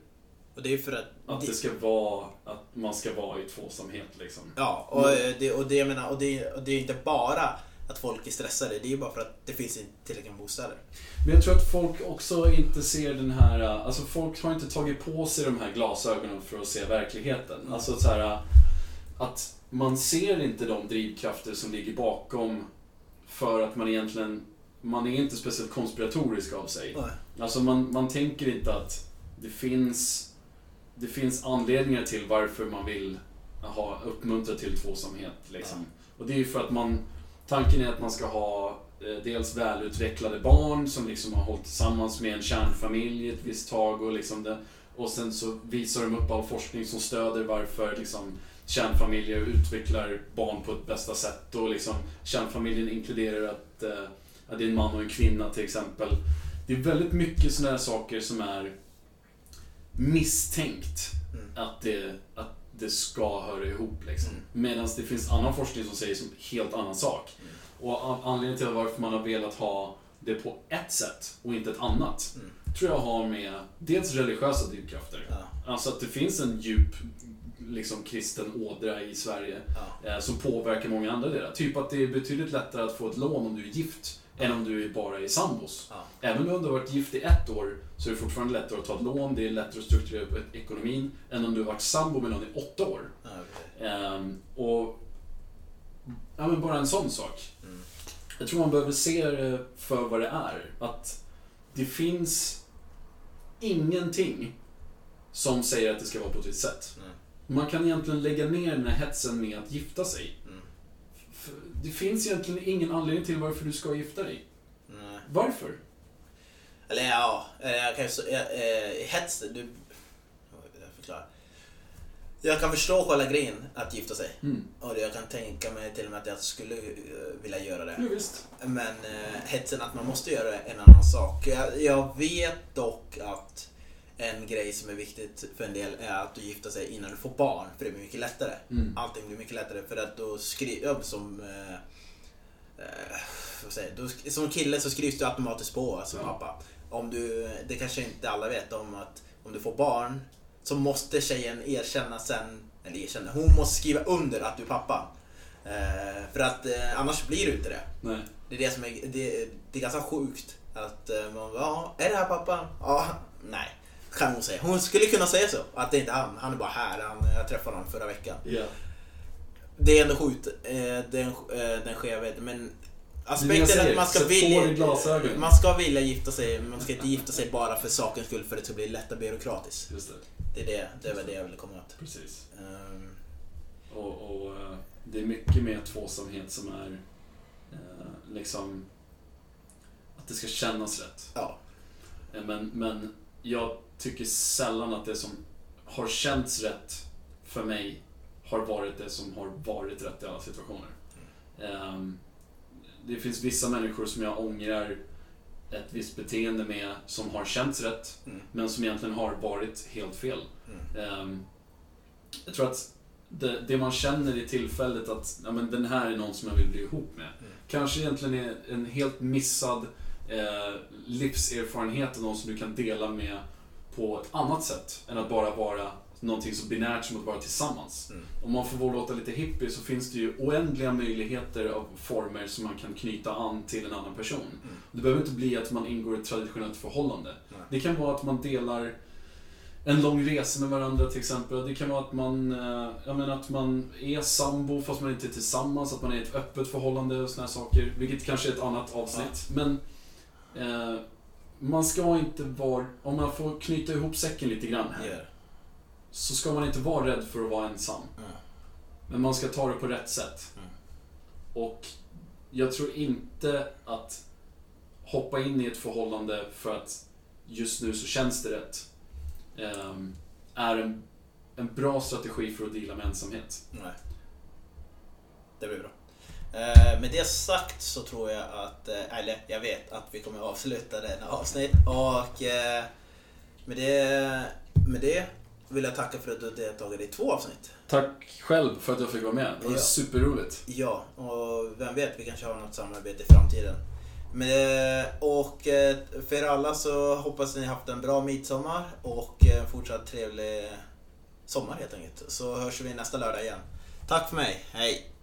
Speaker 1: Och det är för att...
Speaker 2: att det ska vara, att man ska vara i tvåsamhet liksom.
Speaker 1: Ja, och, eh, det, och, det, jag menar, och, det, och det är inte bara att folk är stressade. Det är ju bara för att det finns inte tillräckligt med bostäder.
Speaker 2: Men jag tror att folk också inte ser den här, eh, alltså folk har inte tagit på sig de här glasögonen för att se verkligheten.
Speaker 1: Mm.
Speaker 2: Alltså så här eh, att man ser inte de drivkrafter som ligger bakom för att man egentligen, man är inte speciellt konspiratorisk av sig.
Speaker 1: Nej.
Speaker 2: Alltså man, man tänker inte att det finns, det finns anledningar till varför man vill ha, uppmuntra till tvåsamhet. Liksom. Och det är ju för att man, tanken är att man ska ha eh, dels välutvecklade barn som liksom har hållit tillsammans med en kärnfamilj ett visst tag och liksom det, och sen så visar de upp all forskning som stöder varför liksom kärnfamiljer utvecklar barn på ett bästa sätt och liksom kärnfamiljen inkluderar att, eh, att det är en man och en kvinna till exempel. Det är väldigt mycket sådana här saker som är misstänkt
Speaker 1: Mm.
Speaker 2: att det, att det ska höra ihop. Liksom.
Speaker 1: Mm.
Speaker 2: Medan det finns annan forskning som säger som helt annan sak. Och an- anledningen till varför man har velat ha det på ett sätt och inte ett annat
Speaker 1: Mm.
Speaker 2: tror jag har med dels religiösa drivkrafter.
Speaker 1: Ja.
Speaker 2: Alltså att det finns en djup liksom, kristen ådra i Sverige
Speaker 1: Ja.
Speaker 2: eh, som påverkar många andra delar. Typ att det är betydligt lättare att få ett lån om du är gift än om du är bara är sambos.
Speaker 1: Ja.
Speaker 2: Även om du har varit gift i ett år så är det fortfarande lättare att ta ett lån, det är lättare att strukturera upp ekonomin än om du har varit sambo med någon i åtta år.
Speaker 1: Ja, okej.
Speaker 2: Ehm, och ja, men bara en sån sak.
Speaker 1: Mm.
Speaker 2: Jag tror man behöver se det för vad det är. Att det finns ingenting som säger att det ska vara på ett visst sätt.
Speaker 1: Mm.
Speaker 2: Man kan egentligen lägga ner den här hetsen med att gifta sig.
Speaker 1: Mm.
Speaker 2: För det finns egentligen ingen anledning till varför du ska gifta dig.
Speaker 1: Nej.
Speaker 2: Varför?
Speaker 1: Mm. Eller ja, eh, jag kan, så- eh, eh, hets... Du, vad vill jag förklara? Jag kan förstå själva grejen att gifta sig.
Speaker 2: Mm.
Speaker 1: Och jag kan tänka mig till och med att jag skulle eh, vilja göra det.
Speaker 2: Jo, visst.
Speaker 1: Men eh, hetsen att man måste göra en annan sak. Jag, jag vet dock att en grej som är viktigt för en del är att du gifter sig innan du får barn. För det blir mycket lättare.
Speaker 2: Mm.
Speaker 1: Allting blir mycket lättare för att då skriver som... Eh, eh, vad säger jag? då, sk- som kille så skrivs du automatiskt på som
Speaker 2: Ja.
Speaker 1: pappa. Om du, det kanske inte alla vet om att om du får barn så måste tjejen erkänna sen, eller erkänna, hon måste skriva under att du är pappa. Eh, för att eh, annars blir du inte det.
Speaker 2: Nej.
Speaker 1: Det är det som är, det, det är ganska sjukt. Att eh, man bara, ja, är det här pappa? Ja, nej. Kan hon säga. Hon skulle kunna säga så. Att det inte är han. Han är bara här. Han, jag träffade honom förra veckan.
Speaker 2: Ja.
Speaker 1: Det är ändå sjukt. eh, Den, eh, den skevheten. Men
Speaker 2: Det är det jag
Speaker 1: aspekten
Speaker 2: säger,
Speaker 1: att man ska
Speaker 2: sätt får i
Speaker 1: vilja...
Speaker 2: glasögonen.
Speaker 1: Man ska vilja gifta sig. men Man ska inte gifta sig bara för sakens skull. För det ska bli lättare byråkratiskt.
Speaker 2: Just det.
Speaker 1: Det är det, det, är väl det jag ville komma åt.
Speaker 2: Precis.
Speaker 1: Ehm,
Speaker 2: Och, och eh, det är mycket mer tvåsamhet som är eh, liksom att det ska kännas rätt.
Speaker 1: ja.
Speaker 2: Eh, Men, men jag tycker sällan att det som har känts rätt för mig har varit det som har varit rätt i alla situationer. Ehm, Det finns vissa människor som jag ångrar ett visst beteende med som har känts rätt
Speaker 1: Mm.
Speaker 2: men som egentligen har varit helt fel.
Speaker 1: Mm.
Speaker 2: Ehm, jag tror att det, det man känner i tillfället att ja, men den här är någon som jag vill bli ihop med.
Speaker 1: Mm.
Speaker 2: Kanske egentligen är en helt missad eh, livserfarenhet och någon som du kan dela med på ett annat sätt än att bara vara någonting så binärt som att vara tillsammans.
Speaker 1: Mm.
Speaker 2: Om man får låta lite hippie så finns det ju oändliga möjligheter av former som man kan knyta an till en annan person.
Speaker 1: Mm.
Speaker 2: Det behöver inte bli att man ingår i ett traditionellt förhållande.
Speaker 1: Nej.
Speaker 2: Det kan vara att man delar en lång resa med varandra till exempel. Det kan vara att man, eh, jag menar, att man är sambo fast man inte är tillsammans, att man är i ett öppet förhållande och såna här saker. Vilket kanske är ett annat avsnitt. Men eh, man ska inte vara, om man får knyta ihop säcken lite grann här,
Speaker 1: Gör.
Speaker 2: så ska man inte vara rädd för att vara ensam.
Speaker 1: Mm.
Speaker 2: Men man ska ta det på rätt sätt.
Speaker 1: Mm.
Speaker 2: Och jag tror inte att hoppa in i ett förhållande för att just nu så känns det rätt. ehm, är en, en bra strategi för att deala med ensamhet.
Speaker 1: Nej. Det blir bra. Eh, Med det sagt så tror jag att, eh, eller jag vet att vi kommer avsluta denna avsnitt. Och eh, med det, med det vill jag tacka för att du deltagit i två avsnitt.
Speaker 2: Tack själv för att jag fick vara med. Det var
Speaker 1: Ja.
Speaker 2: superroligt.
Speaker 1: Ja, och vem vet, vi kanske har något samarbete i framtiden. Men, eh, och eh, för er alla så hoppas ni haft en bra midsommar och eh, en fortsatt trevlig sommar helt enkelt. Så hörs vi nästa lördag igen. Tack för mig, hej!